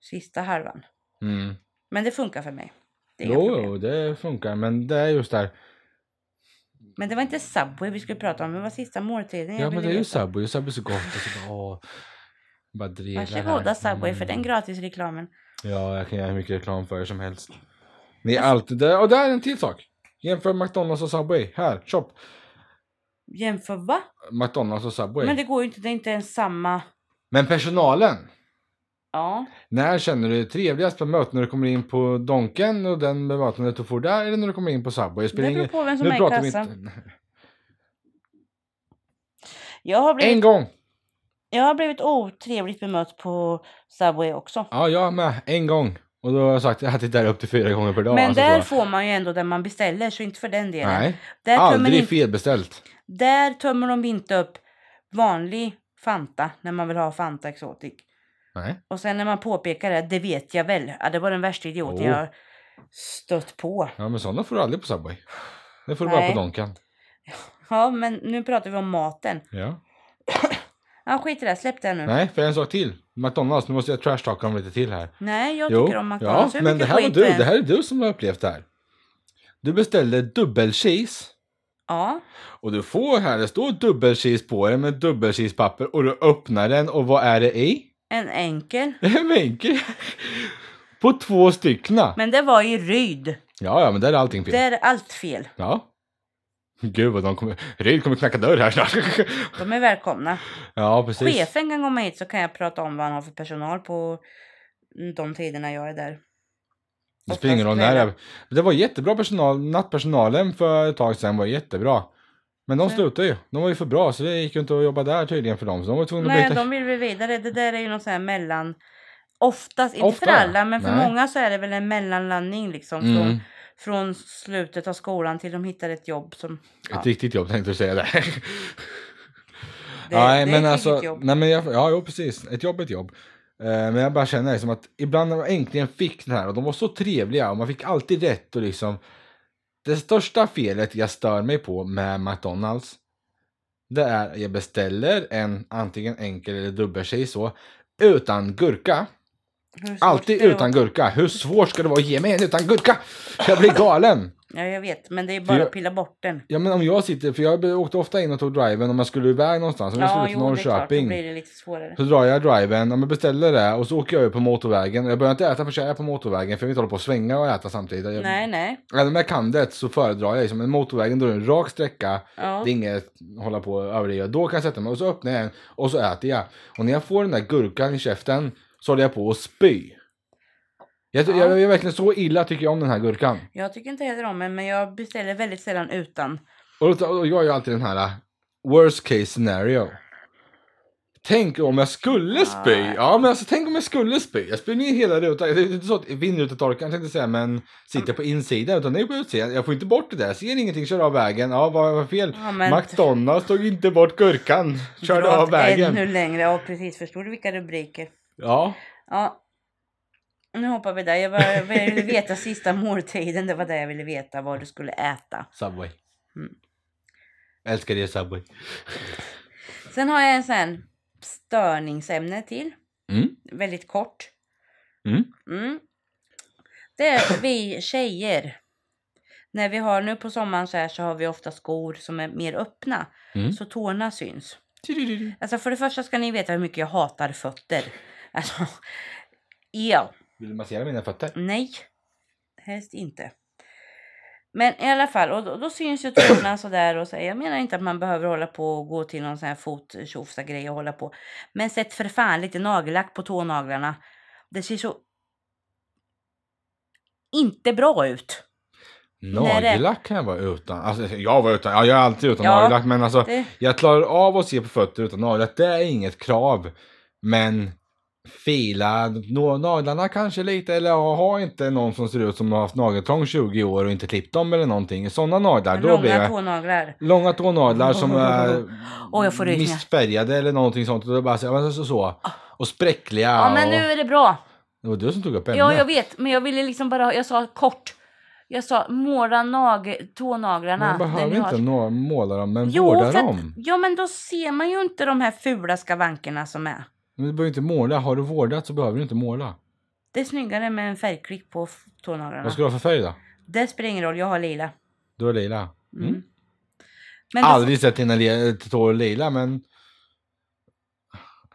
Speaker 2: Sista halvan.
Speaker 1: Mm.
Speaker 2: Men det funkar för mig. Det är inga
Speaker 1: Jo,
Speaker 2: problem.
Speaker 1: jo, det funkar, men det är just där.
Speaker 2: Men det var inte Subway vi skulle prata om, det var sista måltiden. jag
Speaker 1: Ja, men
Speaker 2: ville
Speaker 1: det är ju
Speaker 2: veta.
Speaker 1: Subway och Subway är så gott. Och så bara, åh, bara dreglar här.
Speaker 2: Varsågoda Subway för den
Speaker 1: Mm.
Speaker 2: gratisreklamen.
Speaker 1: Ja, jag kan göra hur mycket reklam för er som helst. Ni
Speaker 2: Alltså-
Speaker 1: är alltid där. Och där är en till sak. Jämför McDonalds och Subway. Här, shop.
Speaker 2: Jämför va?
Speaker 1: McDonalds och Subway.
Speaker 2: Men
Speaker 1: Men,
Speaker 2: det går ju inte, det är inte ens samma.
Speaker 1: personalen.
Speaker 2: Ja.
Speaker 1: När känner du dig trevligast på möten? När du kommer in på Donken och den bemötandet du får där eller när du kommer in på Subway? Det
Speaker 2: Det
Speaker 1: spelar
Speaker 2: beror
Speaker 1: ingen...
Speaker 2: på vem som
Speaker 1: Nu
Speaker 2: är i
Speaker 1: pratar vi
Speaker 2: kassan.
Speaker 1: inte...
Speaker 2: Jag har blivit
Speaker 1: En gång!
Speaker 2: Jag har blivit otrevligt bemött på Subway också.
Speaker 1: Ja, jag med. En gång. Och då har jag sagt att jag tittar upp till fyra gånger per dag.
Speaker 2: Men
Speaker 1: alltså,
Speaker 2: där
Speaker 1: så.
Speaker 2: får man ju ändå det man beställer, så inte för den delen.
Speaker 1: Nej,
Speaker 2: där, tömmer
Speaker 1: aldrig
Speaker 2: inte,
Speaker 1: felbeställt.
Speaker 2: där tömmer de inte upp vanlig Fanta när man vill ha Fanta Exotic.
Speaker 1: Nej.
Speaker 2: Och sen när man påpekar det, det vet jag väl. Ja, det var den värsta idioten
Speaker 1: Oh.
Speaker 2: jag har stött på.
Speaker 1: Ja, men sådana får du aldrig på Subway. Det får du bara
Speaker 2: Nej.
Speaker 1: på Donken.
Speaker 2: Ja, men nu pratar vi om maten.
Speaker 1: Ja.
Speaker 2: Ja, skit i det, släpp det nu. Nej,
Speaker 1: Nej, för en sak till. McDonalds, nu måste jag trashtalka dem lite till här.
Speaker 2: jag tycker om
Speaker 1: ja,
Speaker 2: McDonalds. Hur
Speaker 1: men det
Speaker 2: mycket
Speaker 1: här var
Speaker 2: skit
Speaker 1: du.
Speaker 2: du än-
Speaker 1: Det här är du som har upplevt det här. Du beställde dubbel cheese
Speaker 2: Ja,
Speaker 1: och du får här, det står dubbel cheese på den med dubbel cheesepapper och du öppnar den och vad är det i?
Speaker 2: en enkel.
Speaker 1: Det är en vinkel. På två styckna.
Speaker 2: Men det var i Ryd.
Speaker 1: Ja, ja, men där är allting fel.
Speaker 2: Där är allt fel.
Speaker 1: Ja. Gud vad de kommer, Ryd kommer knacka dörr här snart.
Speaker 2: De är välkomna.
Speaker 1: ja, precis.
Speaker 2: Chefen kan komma hit så kan jag prata om vad han har för personal på mm, de tiderna jag är där.
Speaker 1: Det spelar ingen roll när det är. Det var jättebra personal. Nattpersonalen för ett tag sedan var jättebra. Men de
Speaker 2: Nej.
Speaker 1: slutade ju. De var ju för bra så det gick ju inte att jobba där tydligen för dem. Så de var tvungna att
Speaker 2: Nej,
Speaker 1: byta.
Speaker 2: de vill vi vidare. Det där är ju någon sån här mellan... Oftast, inte
Speaker 1: Ofta,
Speaker 2: för alla, men för
Speaker 1: nej.
Speaker 2: många så är det väl en mellanlandning liksom.
Speaker 1: Mm.
Speaker 2: Från, från slutet av skolan till de hittar ett jobb som...
Speaker 1: Ett riktigt jobb tänkte du säga där.
Speaker 2: Det,
Speaker 1: nej,
Speaker 2: det
Speaker 1: men
Speaker 2: är ett
Speaker 1: alltså,
Speaker 2: riktigt jobb.
Speaker 1: Nej, men jag, ja, jo, precis. Ett jobb är ett jobb. Eh, men jag bara känner liksom att ibland när man äntligen fick den här och de var så trevliga och man fick alltid rätt och liksom. Det största felet jag stör mig på med McDonalds. Det är att jag beställer en antingen enkel eller dubbeltjej så. Utan gurka.
Speaker 2: Hur svårt
Speaker 1: Alltid
Speaker 2: ska det
Speaker 1: utan
Speaker 2: vara?
Speaker 1: gurka. Hur svårt ska det vara att ge mig en utan gurka? Jag blir galen.
Speaker 2: Ja, jag vet. Men det är bara
Speaker 1: jag-
Speaker 2: att pilla bort den.
Speaker 1: Ja men om jag sitter, för jag åkte ofta in och tog driven om jag skulle iväg någonstans. Om jag
Speaker 2: Ja,
Speaker 1: skulle till
Speaker 2: jo, det är klart. Då
Speaker 1: Norrköping.
Speaker 2: blir det lite svårare.
Speaker 1: Så drar jag driven, ja, men beställer det och så åker jag ut på motorvägen. Jag börjar inte äta förrän jag är på motorvägen för jag vill inte hålla på och svänga och äta samtidigt. Jag,
Speaker 2: Nej, nej.
Speaker 1: Även om jag kan det så föredrar jag liksom, men motorvägen då är det en rak sträcka.
Speaker 2: Ja.
Speaker 1: Det är inget hålla på och överdriva. Då kan jag sätta mig och så öppnar jag den och så äter jag. Och när jag får den där gurkan i käften så håller jag på att spy. Jag,
Speaker 2: Ja.
Speaker 1: jag, jag är verkligen så illa tycker jag om den här gurkan.
Speaker 2: Jag tycker inte heller om den, men jag beställer väldigt sällan utan.
Speaker 1: Och, då- och jag gör alltid den här äh, worst case scenario. Tänk om jag skulle spy.
Speaker 2: Nej.
Speaker 1: Ja, men alltså tänk om jag skulle spy. Jag spyr ner hela rutan. Det är inte så att vindrutetorkaren tänkte jag säga, men sitter på insidan utan det är på utsidan. Jag får inte bort det där. Jag ser ingenting, kör av vägen. Ja, vad var fel?
Speaker 2: Ja, men-
Speaker 1: McDonalds tog inte bort gurkan. Körde
Speaker 2: Dra
Speaker 1: av vägen.
Speaker 2: Ännu längre. Ja, precis. Förstår du vilka rubriker?
Speaker 1: Ja,
Speaker 2: Ja. Nu hoppar vi där. Jag, var, jag ville veta sista måltiden. Det var det jag ville veta, vad du skulle äta.
Speaker 1: Subway.
Speaker 2: Mm.
Speaker 1: Älskar det Subway.
Speaker 2: Sen har jag en sån här störningsämne till.
Speaker 1: Mm.
Speaker 2: Väldigt kort.
Speaker 1: Mm.
Speaker 2: Mm. Det är vi tjejer. När vi har nu på sommaren så här så har vi ofta skor som är mer öppna.
Speaker 1: Mm.
Speaker 2: Så tårna syns. Alltså för det första ska ni veta hur mycket jag hatar fötter. Alltså, ja,
Speaker 1: Vill du massera mina fötter?
Speaker 2: nej, helst inte. Men i alla fall, och då, då syns ju tårna sådär och så. Jag menar inte att man behöver hålla på och gå till någon sån här fottjofsa grej och hålla på. Men sätt för fan lite nagellack på tånaglarna. Det ser så inte bra ut. Nej, det-
Speaker 1: Nagellack kan jag vara utan. Alltså, jag var utan. Ja, jag är alltid utan
Speaker 2: Ja,
Speaker 1: nagellack. Men alltså,
Speaker 2: Det,
Speaker 1: jag klarar av att se på fötter utan nagellack. Det är inget krav. Men fila nå- naglarna kanske lite. Eller ha ha inte någon som ser ut som har haft nageltrång 20 år och inte klippt dem eller någonting. Sådana naglar, då blir
Speaker 2: långa
Speaker 1: jag...
Speaker 2: tånaglar.
Speaker 1: Långa tånaglar som är
Speaker 2: Åh, jag får rysningar. Ah.
Speaker 1: missfärgade eller någonting sånt. Och, det är bara så, ja, men så, så. och spräckliga.
Speaker 2: Ja, men nu
Speaker 1: och...
Speaker 2: är det bra.
Speaker 1: Det var du som tog upp ämnet.
Speaker 2: Ja, jag vet. Men jag ville liksom bara... Jag sa kort. Jag sa måla nag- tånaglarna.
Speaker 1: Man
Speaker 2: när ni
Speaker 1: behöver
Speaker 2: har-
Speaker 1: inte nå- måla dem, men
Speaker 2: Jo,
Speaker 1: vårda
Speaker 2: för att-
Speaker 1: dem.
Speaker 2: Ja, men då ser man ju inte de här fula skavankerna som är.
Speaker 1: Men du behöver inte måla. Har du vårdat så behöver du inte måla.
Speaker 2: Det är snyggare med en färgklick på f- tånaglarna.
Speaker 1: Vad ska du ha för färg då?
Speaker 2: Det spelar ingen roll. Jag har lila.
Speaker 1: Du har lila. Mm.
Speaker 2: Mm. Men då-
Speaker 1: Aldrig sett dina li- tår lila, men...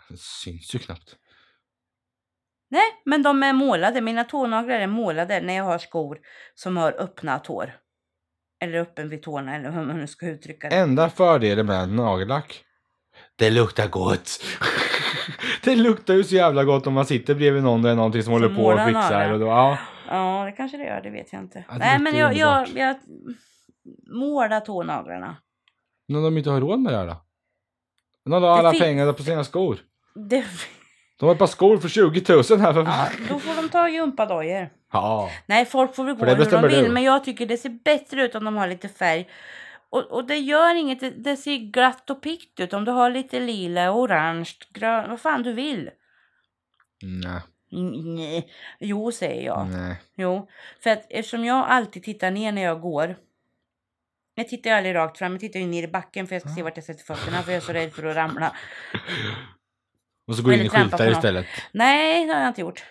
Speaker 1: Det syns ju knappt.
Speaker 2: Nej, men de är målade. Mina tånaglar är målade när jag har skor som har öppna tår. Eller öppen vid tårna eller hur man nu ska uttrycka det.
Speaker 1: Enda fördelen med nagellack. Det luktar gott. det luktar ju så jävla gott om man sitter bredvid någon eller någonting som, håller på och
Speaker 2: målar
Speaker 1: fixar.
Speaker 2: naglar.
Speaker 1: Och då, ja.
Speaker 2: Ja, det kanske det gör. Det vet jag inte.
Speaker 1: Ja, det
Speaker 2: Nej,
Speaker 1: låter
Speaker 2: men jag, jag,
Speaker 1: underbart.
Speaker 2: jag målar tånaglarna.
Speaker 1: Men om de inte har råd med det här då? De la
Speaker 2: Det
Speaker 1: alla
Speaker 2: fin-
Speaker 1: pengarna på sina skor.
Speaker 2: Det,
Speaker 1: De har ett par skor för 20 000 här för
Speaker 2: ja,
Speaker 1: fan.
Speaker 2: då får de ta gympadojor.
Speaker 1: Ja.
Speaker 2: Nej, folk får väl gå
Speaker 1: För det
Speaker 2: hur de
Speaker 1: bestämmer
Speaker 2: vill,
Speaker 1: du.
Speaker 2: men jag tycker det ser bättre ut om de har lite färg. Och, och det gör inget, det, det ser glatt och piggt ut om du har lite lila, orange, grön, vad fan du vill.
Speaker 1: Nej.
Speaker 2: Mm, Nej. Jo, säger jag.
Speaker 1: Nej.
Speaker 2: Jo, för att eftersom jag alltid tittar ner när jag går. Jag tittar ju aldrig rakt fram, jag tittar ju ner i backen för jag ska se vart jag sätter fötterna för jag är så rädd för att ramla.
Speaker 1: Och så går jag in
Speaker 2: Eller
Speaker 1: i
Speaker 2: trampa på
Speaker 1: skyltar
Speaker 2: någon.
Speaker 1: istället.
Speaker 2: Nej, det har jag inte gjort.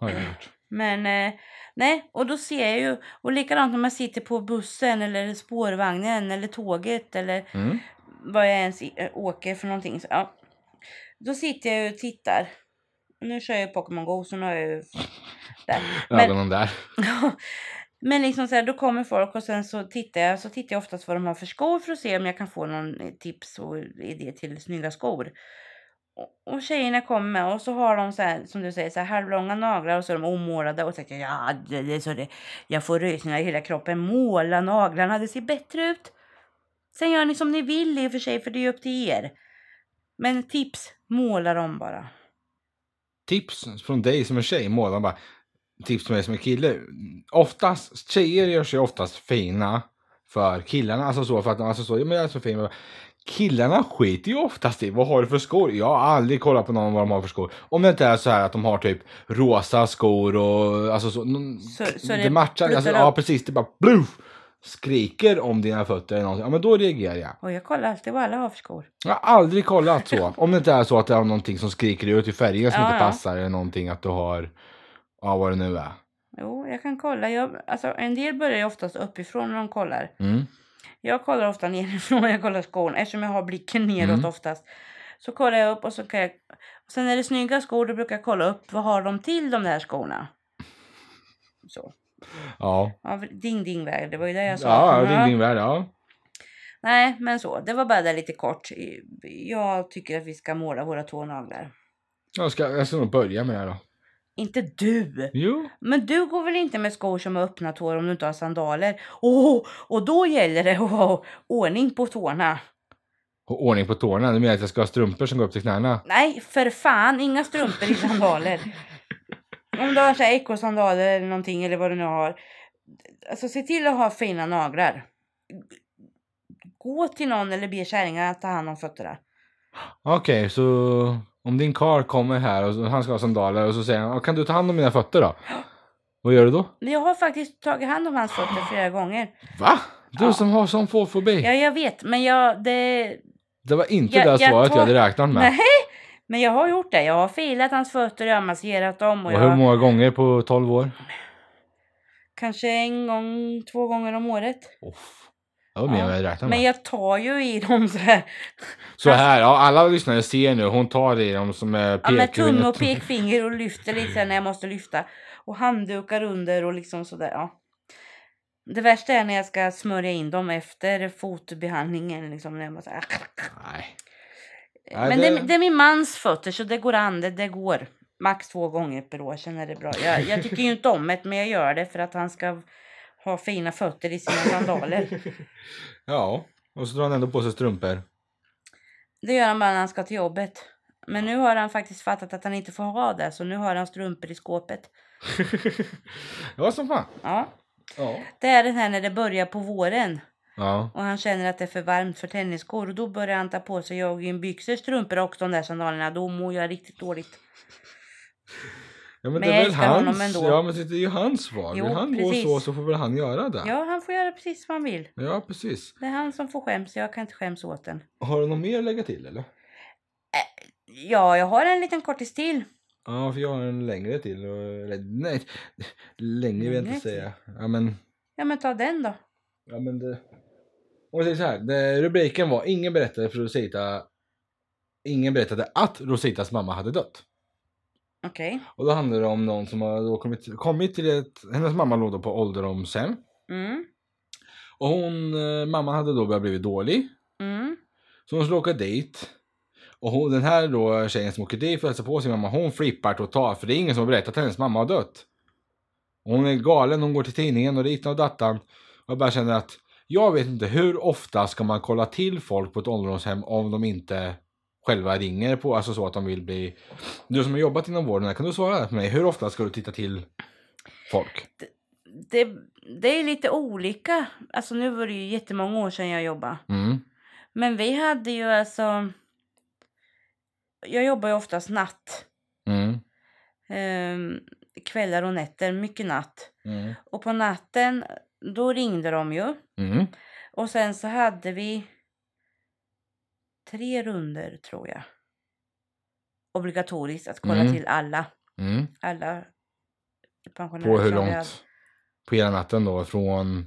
Speaker 1: Har jag gjort.
Speaker 2: Men eh, nej, och då ser jag ju, och likadant om jag sitter på bussen eller spårvagnen eller tåget eller
Speaker 1: Mm.
Speaker 2: vad jag ens i- äh, åker för någonting. Så, ja. Då sitter jag ju och tittar. Nu kör jag ju Pokémon Go så nu har jag ju... Där. Men,
Speaker 1: Ögonen där.
Speaker 2: men liksom så här, då kommer folk och sen så tittar jag, så tittar jag oftast vad de har för skor för att se om jag kan få någon eh, tips och idé till snygga skor. Och, och tjejerna kommer och så har de så här, som du säger, så här halvlånga naglar och så är de omålade och tänker ja, det, det, är så det, jag får rysningar i hela kroppen. Måla naglarna, det ser bättre ut. Sen gör ni som ni vill i och för sig, för det är ju upp till er. Men tips, måla dem bara.
Speaker 1: tips från dig som är tjej, måla bara tips från mig som är kille. Oftast, tjejer gör sig oftast fina för killarna, alltså så för att alltså så, ja, men jag är så fin. Killarna skiter ju oftast i vad har du för skor. Jag har aldrig kollat på någon vad de har för skor. Om det inte är så här att de har typ rosa skor och alltså så. någon-
Speaker 2: Så- så
Speaker 1: det
Speaker 2: det
Speaker 1: matchar. Alltså,
Speaker 2: pluttar
Speaker 1: ja
Speaker 2: upp.
Speaker 1: precis, det bara bluff, skriker om dina fötter eller någonting. Ja men då reagerar jag.
Speaker 2: Och jag kollar alltid vad alla har för skor.
Speaker 1: Jag har aldrig kollat så. Om det inte är så att det är någonting som skriker ut i färgen som
Speaker 2: Ja,
Speaker 1: inte
Speaker 2: ja.
Speaker 1: passar eller någonting att du har, ja vad det nu är.
Speaker 2: Jo, jag kan kolla. Jag, alltså, en del börjar ju oftast uppifrån när de kollar.
Speaker 1: Mm.
Speaker 2: Jag kollar ofta nerifrån när jag kollar skon eftersom jag har blicken neråt
Speaker 1: Mm.
Speaker 2: oftast. Så kollar jag upp och så kan jag... Och sen är det snygga skor då brukar jag kolla upp vad har de till de där skorna. Så.
Speaker 1: Ja,
Speaker 2: Ja, ding ding väg, det var ju det jag sa.
Speaker 1: ja, ja. Ring, ring, värld, ja.
Speaker 2: Nej, men så. Det var bara där lite kort. I- Jag tycker att vi ska måla våra tånaglar.
Speaker 1: Jag ska, jag ska nog börja med det här då.
Speaker 2: Inte du!
Speaker 1: Jo.
Speaker 2: Men du går väl inte med skor som har öppna tår om du inte har sandaler? Åh, och då gäller det att ha ordning på tårna.
Speaker 1: Och ordning på tårna. Du menar att jag ska ha strumpor som går upp till knäna?
Speaker 2: Nej, för fan, inga strumpor i sandaler. Om du har så här ekosandaler eller någonting eller vad du nu har. Alltså se till att ha fina naglar. Gå till någon eller be kärringarna att ta hand om fötterna.
Speaker 1: Okej, så om din karl kommer här och så- han ska ha sandaler och så säger han, "Ja, kan du ta hand om mina fötter då? Vad gör du då?
Speaker 2: Men Jag har faktiskt tagit hand om hans fötter flera gånger.
Speaker 1: Va? Du
Speaker 2: Ja.
Speaker 1: som har sån fårfobi.
Speaker 2: Ja, jag vet, men jag... Det,
Speaker 1: Det var inte
Speaker 2: Jag-
Speaker 1: det
Speaker 2: jag
Speaker 1: svaret jag
Speaker 2: tar-
Speaker 1: hade räknat med.
Speaker 2: nej, men jag har gjort det. Jag har filat hans fötter, jag har masserat dem och
Speaker 1: Och hur
Speaker 2: jag...
Speaker 1: många gånger på 12 år?
Speaker 2: Kanske en gång, två gånger om året.
Speaker 1: Off. Det var mer än
Speaker 2: Ja.
Speaker 1: vad jag hade räknat med.
Speaker 2: Men jag tar ju i dem så här.
Speaker 1: Så här, ja, alla lyssnare ser nu, hon tar i dem som är
Speaker 2: Ja, med
Speaker 1: pekfingret.
Speaker 2: tumme och pekfinger och lyfter lite så här när jag måste lyfta. Och handdukar under och liksom sådär. Ja. Det värsta är när jag ska smörja in dem efter fotbehandlingen. Liksom, när jag måste,
Speaker 1: Nej. Nej,
Speaker 2: Men det...
Speaker 1: det-
Speaker 2: Det, är min mans fötter så det går an. Det, det går. Max två gånger per år, sen är det bra. Jag, jag tycker ju inte om det men jag gör det för att han ska ha fina fötter i sina sandaler.
Speaker 1: Ja, och så drar han ändå på sig strumpor.
Speaker 2: Det gör han bara när han ska till jobbet. Men nu har han faktiskt fattat att han inte får ha det så nu har han strumpor i skåpet.
Speaker 1: ja, som fan.
Speaker 2: Ja.
Speaker 1: Ja.
Speaker 2: Det är den här när det börjar på våren
Speaker 1: Ja.
Speaker 2: och han känner att det är för varmt för tennisskor och då börjar han ta på sig joggingbyxor, strumpor och de där sandalerna. Då mår jag riktigt dåligt.
Speaker 1: Ja, men,
Speaker 2: Men
Speaker 1: det är
Speaker 2: jag
Speaker 1: väl
Speaker 2: älskar honom
Speaker 1: hans,
Speaker 2: ändå.
Speaker 1: Ja, men det är ju hans val.
Speaker 2: Jo,
Speaker 1: Vill han
Speaker 2: precis.
Speaker 1: gå så så får väl han göra det.
Speaker 2: Ja, han får göra precis vad han vill.
Speaker 1: Ja, precis.
Speaker 2: Det är han som får skäms, jag kan inte skäms åt den.
Speaker 1: Har du något mer att lägga till eller?
Speaker 2: Ja, jag har en liten kortis till.
Speaker 1: Ja, för jag har en längre till. och- eller, Nej, längre vill jag
Speaker 2: Längre
Speaker 1: inte
Speaker 2: till?
Speaker 1: säga. Ja, men,
Speaker 2: Ja, men ta den då.
Speaker 1: ja, men det... Om vi säger så här, det, rubriken var Ingen berättade för Rosita... Ingen berättade att Rositas mamma hade dött.
Speaker 2: Okej.
Speaker 1: Och då handlar det om någon som har då kommit, kommit till ett... Hennes mamma låg då på ålderdomshem.
Speaker 2: Mm.
Speaker 1: Och hon, eh, mamman hade då börjat bli dålig.
Speaker 2: Mm.
Speaker 1: Så hon skulle åka dit. Och hon, den här då tjejen som åker dit för att hälsa på sin mamma, hon flippar totalt. För det är ingen som har berättat att hennes mamma har dött. Och Hon är galen, hon går till tidningen och dit och dattan. Och jag bara känner att jag vet inte hur ofta ska man kolla till folk på ett ålderdomshem om de inte själva ringer på, alltså så att de vill bli... Du som har jobbat inom vården, kan du svara på mig? Hur ofta ska du titta till folk?
Speaker 2: Det, det är lite olika. Alltså nu var det ju jättemånga år sedan jag jobbade.
Speaker 1: Mm.
Speaker 2: Men vi hade ju alltså... Jag jobbar ju oftast natt.
Speaker 1: Mm.
Speaker 2: Ehm, kvällar och nätter, mycket natt.
Speaker 1: Mm.
Speaker 2: Och på natten, då ringde de ju.
Speaker 1: Mm.
Speaker 2: Och sen så hade vi tre runder tror jag. Obligatoriskt att kolla
Speaker 1: Mm.
Speaker 2: till alla.
Speaker 1: Mm.
Speaker 2: Alla pensionärer.
Speaker 1: På hur
Speaker 2: som vi hade.
Speaker 1: långt? På hela natten då, från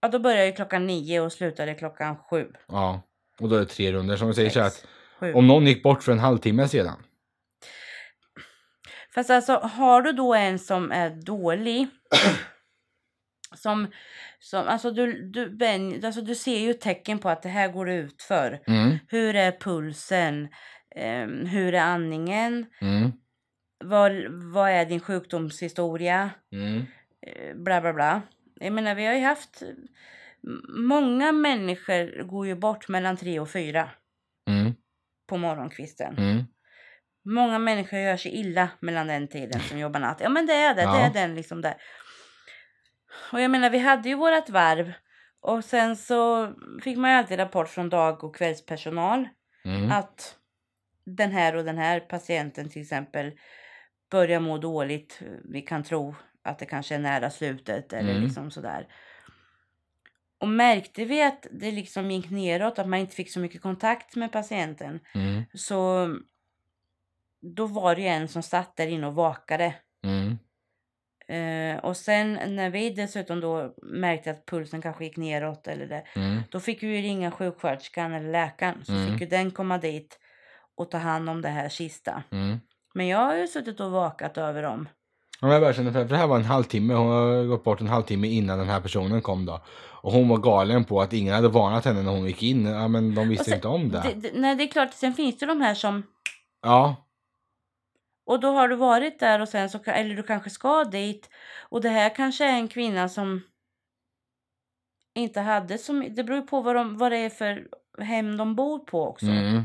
Speaker 2: Ja, då började ju klockan nio och slutade klockan sju.
Speaker 1: Ja, och då är det tre runder som vi säger så här att
Speaker 2: Sex, sju.
Speaker 1: om någon gick bort för en halvtimme sedan.
Speaker 2: Fast alltså har du då en som är dålig. som, som, alltså, du, du, ben, alltså du ser ju tecken på att det här går ut för.
Speaker 1: Mm,
Speaker 2: Hur är pulsen? Ehm, hur är andningen?
Speaker 1: mm,
Speaker 2: Vad, vad är din sjukdomshistoria?
Speaker 1: mm,
Speaker 2: Eh, Bla bla bla. Jag menar vi har ju haft. m- Många människor går ju bort mellan tre och fyra
Speaker 1: mm,
Speaker 2: på morgonkvisten.
Speaker 1: mm.
Speaker 2: Många människor gör sig illa mellan den tiden som jobbar natt. Ja men det är det,
Speaker 1: Ja.
Speaker 2: det är den liksom där. Och jag menar vi hade ju vårat varv Och sen så fick man ju alltid rapport från dag och kvällspersonal
Speaker 1: Mm.
Speaker 2: att den här och den här patienten till exempel börjar må dåligt. Vi kan tro att det kanske är nära slutet eller
Speaker 1: Mm.
Speaker 2: liksom sådär. Och märkte vi att det liksom gick neråt, att man inte fick så mycket kontakt med patienten.
Speaker 1: Mm.
Speaker 2: Så då var det ju en som satt där inne och vakade.
Speaker 1: Mm.
Speaker 2: Eh, och sen när vi dessutom då märkte att pulsen kanske gick neråt eller det.
Speaker 1: Mm.
Speaker 2: Då fick vi ju ringa sjuksköterskan eller läkaren. Så
Speaker 1: Mm.
Speaker 2: fick ju den komma dit och ta hand om det här sista.
Speaker 1: Mm.
Speaker 2: Men jag har ju suttit och vakat över dem.
Speaker 1: Ja, men jag bara kände för för det här var en halvtimme, hon har gått bort en halvtimme innan den här personen kom då. Och hon var galen på att ingen hade varnat henne när hon gick in. Ja, men de visste
Speaker 2: Och sen-
Speaker 1: inte om det.
Speaker 2: Det, det, nej, det är klart. Sen finns det de här som...
Speaker 1: Ja.
Speaker 2: Och då har du varit där och sen så... ka- Eller du kanske ska dit. Och det här kanske är en kvinna som inte hade som... Det beror ju på vad, de, vad det är för hem de bor på också.
Speaker 1: Mm.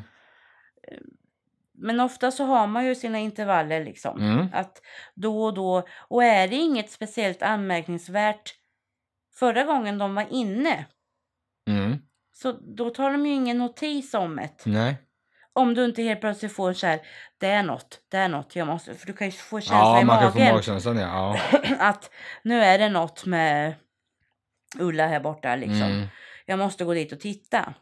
Speaker 2: Men ofta så har man ju sina intervaller liksom.
Speaker 1: Mm.
Speaker 2: Att då och då. Och är det inget speciellt anmärkningsvärt förra gången de var inne.
Speaker 1: Mm.
Speaker 2: Så då tar de ju ingen notis om det.
Speaker 1: Nej.
Speaker 2: Om du inte helt plötsligt får så här. Det är något, det är något. Jag måste, för du kan ju få känsla
Speaker 1: Ja,
Speaker 2: i
Speaker 1: man kan få
Speaker 2: magen.
Speaker 1: magkänslan ja.
Speaker 2: att nu är det något med Ulla här borta
Speaker 1: ja.
Speaker 2: liksom.
Speaker 1: Mm.
Speaker 2: Jag måste gå dit och titta.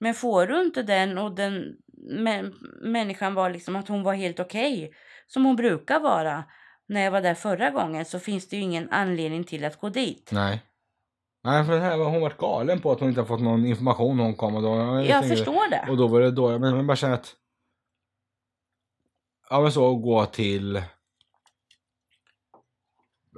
Speaker 2: Men får du inte den och den mä- människan var liksom att hon var helt okej. som hon brukar vara. När jag var där förra gången så finns det ju ingen anledning till att gå dit.
Speaker 1: Nej. Nej, för det här var hon varit galen på att hon inte har fått någon information när hon kom. Och då,
Speaker 2: Jag förstår det.
Speaker 1: Och då var det då, men man bara känner att... Ja men så, gå till...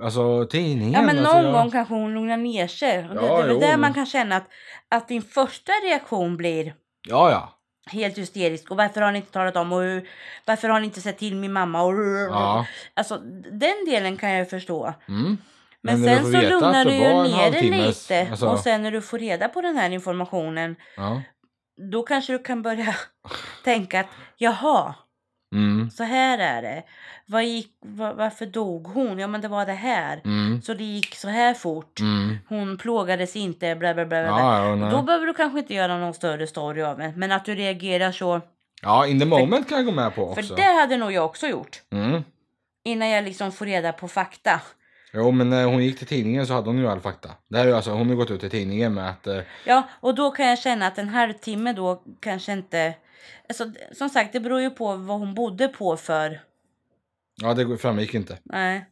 Speaker 1: Alltså tidningen.
Speaker 2: Ja men
Speaker 1: alltså,
Speaker 2: någon
Speaker 1: jag-
Speaker 2: gång kanske hon lugnar ner sig. Och det,
Speaker 1: Ja,
Speaker 2: det är väl
Speaker 1: jo,
Speaker 2: där
Speaker 1: men-
Speaker 2: man kan känna att, att din första reaktion blir
Speaker 1: Ja, ja.
Speaker 2: helt hysterisk. Och varför har ni inte talat om och hur- varför har ni inte sett till min mamma? Och,
Speaker 1: Ja.
Speaker 2: Alltså den delen kan jag ju förstå.
Speaker 1: Mm.
Speaker 2: Men,
Speaker 1: när
Speaker 2: sen
Speaker 1: får
Speaker 2: så
Speaker 1: veta
Speaker 2: lugnar
Speaker 1: att
Speaker 2: du
Speaker 1: det var
Speaker 2: ju
Speaker 1: en
Speaker 2: ner dig
Speaker 1: halvtimmes-
Speaker 2: lite.
Speaker 1: alltså,
Speaker 2: Och sen när du får reda på den här informationen.
Speaker 1: ja.
Speaker 2: Då kanske du kan börja tänka att jaha,
Speaker 1: Mm.
Speaker 2: så här är det. Vad gick, va- varför dog hon? Ja men det var det här.
Speaker 1: Mm.
Speaker 2: Så det gick så här fort.
Speaker 1: Mm.
Speaker 2: Hon plågades inte, bla bla bla. bla. bla.
Speaker 1: Ja, ja,
Speaker 2: Och
Speaker 1: nej.
Speaker 2: Då behöver du kanske inte göra någon större story av det. Men att du reagerar så.
Speaker 1: ja, in the moment kan jag gå med på också.
Speaker 2: För det hade nog jag också gjort.
Speaker 1: Mm.
Speaker 2: Innan jag liksom får reda på fakta.
Speaker 1: Jo, men när hon gick till tidningen så hade hon ju all fakta. Det här är ju alltså, hon har ju gått ut till tidningen med att... eh,
Speaker 2: Ja, och då kan jag känna att en halvtimme då kanske inte... Alltså, d- som sagt, det beror ju på vad hon bodde på för...
Speaker 1: Ja, det framgick inte.
Speaker 2: Nej.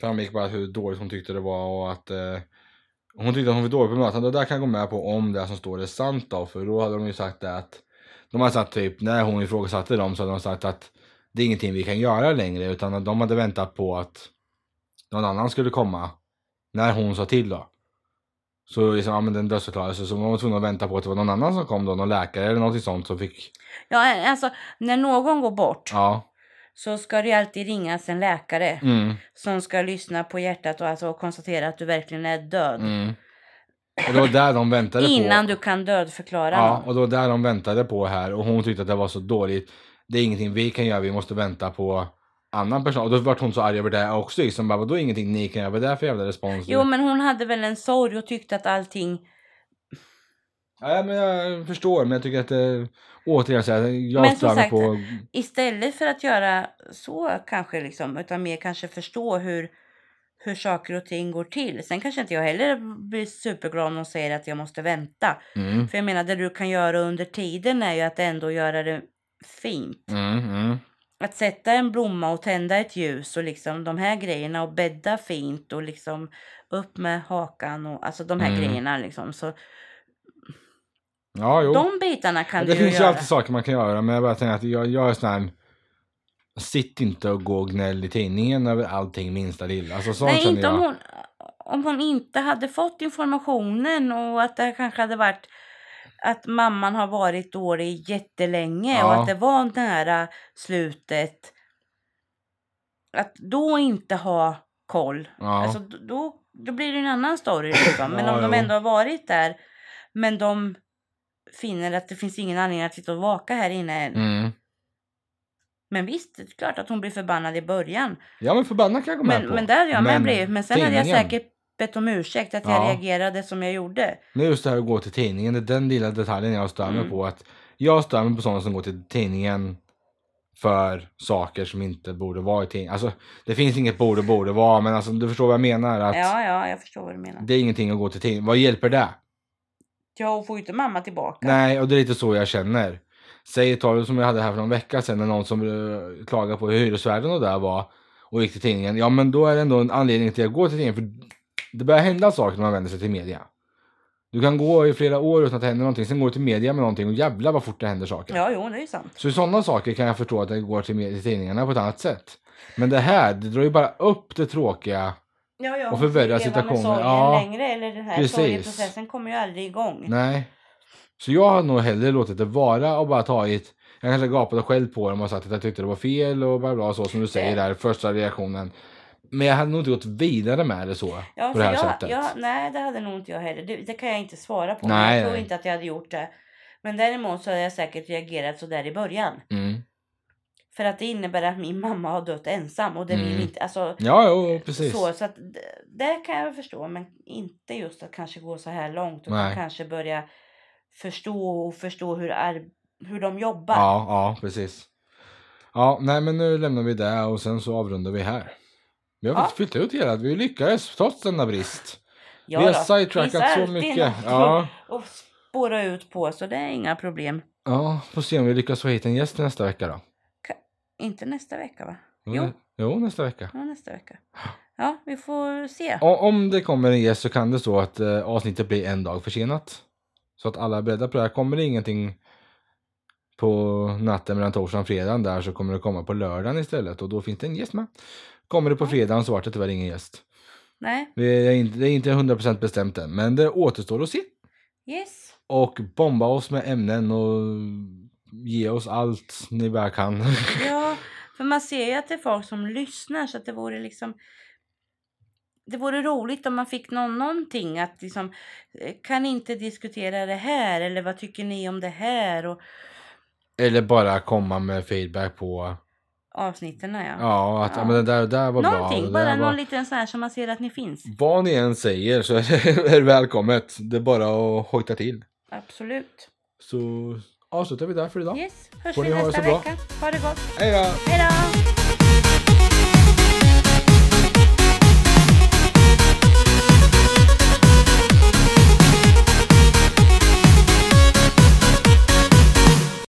Speaker 1: framgick bara hur dåligt hon tyckte det var och att eh, hon tyckte att hon var dålig på bemötande. Det där kan jag gå med på om det som står är sant då, för då hade de ju sagt det att de hade sagt typ, när hon ifrågasatte dem så hade de sagt att det är ingenting vi kan göra längre utan att de hade väntat på att någon annan skulle komma när hon sa till då. Så liksom, ja men den dödsförklarelse, så man var tvungen att vänta på att det var någon annan som kom då, någon läkare eller någonting sånt som fick,
Speaker 2: Ja, alltså när någon går bort
Speaker 1: ja.
Speaker 2: så ska det ju alltid ringas en läkare
Speaker 1: Mm,
Speaker 2: som ska lyssna på hjärtat och alltså konstatera att du verkligen är död.
Speaker 1: mm. Och det var där de väntade på.
Speaker 2: Innan du kan dödförklara
Speaker 1: Ja,
Speaker 2: någon.
Speaker 1: och det var där de väntade på här och hon tyckte att det var så dåligt. Det är ingenting vi kan göra, vi måste vänta på annan person. Och då vart hon så arg över det också liksom. Bara, vadå ingenting ni kan göra? Vad är det här för jävla respons?
Speaker 2: Jo, men hon hade väl en sorg och tyckte att allting...
Speaker 1: Ja, men jag förstår, men jag tycker att det, återigen så här,
Speaker 2: Men
Speaker 1: jag
Speaker 2: som
Speaker 1: stör mig
Speaker 2: sagt-
Speaker 1: på...
Speaker 2: Istället för att göra så kanske liksom, utan mer kanske förstå hur, hur saker och ting går till. Sen kanske inte jag heller blir superglad om någon säger att jag måste vänta.
Speaker 1: Mm,
Speaker 2: För jag menar, det du kan göra under tiden är ju att ändå göra det fint.
Speaker 1: mm, mm,
Speaker 2: Att sätta en blomma och tända ett ljus och liksom de här grejerna och bädda fint och liksom upp med hakan och alltså de här
Speaker 1: Mm.
Speaker 2: grejerna liksom. Så
Speaker 1: ja, jo.
Speaker 2: de bitarna kan
Speaker 1: det
Speaker 2: du ju
Speaker 1: finns ju
Speaker 2: göra.
Speaker 1: alltid saker man kan göra, men jag bara tänker att jag, jag är sån här... Sitt inte och gå och gnäll i tidningen över allting minsta lilla. Alltså sånt
Speaker 2: Nej,
Speaker 1: känner
Speaker 2: inte
Speaker 1: jag.
Speaker 2: om hon, om hon inte hade fått informationen och att det kanske hade varit att mamman har varit dålig jättelänge och
Speaker 1: Ja.
Speaker 2: att det var nära slutet. Att då inte ha koll.
Speaker 1: Ja.
Speaker 2: Alltså, d- då, då blir det en annan story. Liksom. Men
Speaker 1: Ja,
Speaker 2: om de
Speaker 1: jo.
Speaker 2: ändå har varit där, men de finner att det finns ingen anledning att sitta och vaka här inne. än.
Speaker 1: Mm.
Speaker 2: Men visst, det är klart att hon blir förbannad i början.
Speaker 1: Ja men förbannat kan jag gå med
Speaker 2: Men,
Speaker 1: på.
Speaker 2: men det hade jag med
Speaker 1: Men
Speaker 2: blivit. Men sen hade jag
Speaker 1: tidningen?
Speaker 2: säkert bett om ursäkt att jag
Speaker 1: Ja.
Speaker 2: reagerade som jag gjorde.
Speaker 1: Det är just det här att gå till tidningen. Det är den lilla detaljen jag stör mig
Speaker 2: Mm.
Speaker 1: på. Att jag stör mig på sådana som går till tidningen för saker som inte borde vara i tidningen. Alltså, det finns inget borde borde vara, men alltså, du förstår vad jag menar. Att
Speaker 2: Ja, ja, jag förstår vad du menar.
Speaker 1: Det är ingenting att gå till tidningen. Vad hjälper det?
Speaker 2: Ja, och får ju inte mamma tillbaka.
Speaker 1: Nej, och det är lite så jag känner. Säg talet som jag hade här för någon vecka sedan när någon som eh, klagade på hur hyresvärden och där var och gick till tidningen. Ja, men då är det ändå en anledning till att gå till tidningen. För det börjar hända saker när man vänder sig till media. Du kan gå i flera år utan att det händer någonting. Sen går du till media med någonting och jävlar vad fort det händer saker.
Speaker 2: Ja, jo, det är ju sant.
Speaker 1: Så i sådana saker kan jag förstå att det går till, med- till tidningarna på ett annat sätt. Men det här, det drar ju bara upp det tråkiga.
Speaker 2: Ja, ja,
Speaker 1: Och förvärra
Speaker 2: leva med
Speaker 1: situationen.
Speaker 2: sorgen
Speaker 1: Ja.
Speaker 2: längre eller den här
Speaker 1: Precis.
Speaker 2: sorgeprocessen kommer ju aldrig igång.
Speaker 1: Nej. Så jag har nog hellre låtit det vara och bara tagit jag kanske gapade själv på dem och sagt att jag tyckte det var fel och bla bla så som du
Speaker 2: Eh.
Speaker 1: säger där, första reaktionen. Men jag hade nog inte gått vidare med det så.
Speaker 2: Ja,
Speaker 1: på
Speaker 2: för
Speaker 1: det här
Speaker 2: jag,
Speaker 1: sättet.
Speaker 2: Jag, nej, det hade nog inte jag heller. Det, det kan jag inte svara på.
Speaker 1: Nej,
Speaker 2: jag tror
Speaker 1: nej.
Speaker 2: inte att jag hade gjort det. Men däremot så hade jag säkert reagerat så där i början.
Speaker 1: Mm.
Speaker 2: För att det innebär att min mamma har dött ensam och det vill
Speaker 1: Mm.
Speaker 2: inte... Alltså,
Speaker 1: Ja, jo, precis.
Speaker 2: Så, så att det, det kan jag förstå, men inte just att kanske gå så här långt. Utan
Speaker 1: Nej.
Speaker 2: kanske börja förstå och förstå hur, ar- hur de jobbar.
Speaker 1: Ja, ja, precis. Ja, nej men nu lämnar vi det och sen så avrundar vi här. Vi har
Speaker 2: Ja.
Speaker 1: faktiskt fyllt ut hela, vi lyckades trots denna brist.
Speaker 2: Ja
Speaker 1: vi har
Speaker 2: då, finns
Speaker 1: sidetrackat så
Speaker 2: alltid
Speaker 1: mycket.
Speaker 2: något
Speaker 1: Ja.
Speaker 2: att- att spåra ut på, så det är inga problem.
Speaker 1: ja, får se om vi lyckas få hit en gäst nästa vecka då.
Speaker 2: Inte nästa vecka va? Jo.
Speaker 1: Jo, nästa vecka.
Speaker 2: Ja, nästa vecka. Ja, vi får se.
Speaker 1: O- Om det kommer en gäst så kan det stå att eh, avsnittet blir en dag försenat. Så att alla är beredda på det här. Kommer det ingenting på natten mellan torsdagen och fredagen där så kommer det komma på lördagen istället och då finns det en gäst med. Kommer det på fredagen så vart det tyvärr ingen gäst.
Speaker 2: Nej,
Speaker 1: Det är inte, det är inte 100% bestämt än men det återstår att se.
Speaker 2: yes.
Speaker 1: Och bomba oss med ämnen och ge oss allt ni bara kan.
Speaker 2: Ja, för man ser ju att det är folk som lyssnar så att det vore liksom det vore roligt om man fick någon, någonting att liksom eh, kan inte diskutera det här eller vad tycker ni om det här och
Speaker 1: Eller bara komma med feedback på
Speaker 2: avsnitten ja.
Speaker 1: ja, att ja.
Speaker 2: Ja.
Speaker 1: men det där, det där var bra.
Speaker 2: någonting,
Speaker 1: det
Speaker 2: bara
Speaker 1: där var...
Speaker 2: någon liten sån här som man ser att ni finns.
Speaker 1: Vad ni än säger så är det välkommet. Det är bara att hojta till.
Speaker 2: Absolut.
Speaker 1: Så avslutar vi där för idag.
Speaker 2: Yes, hörs
Speaker 1: Får
Speaker 2: vi
Speaker 1: ni ha det
Speaker 2: nästa
Speaker 1: så bra.
Speaker 2: vecka. Ha det gott.
Speaker 1: Hej då!
Speaker 2: Hej då!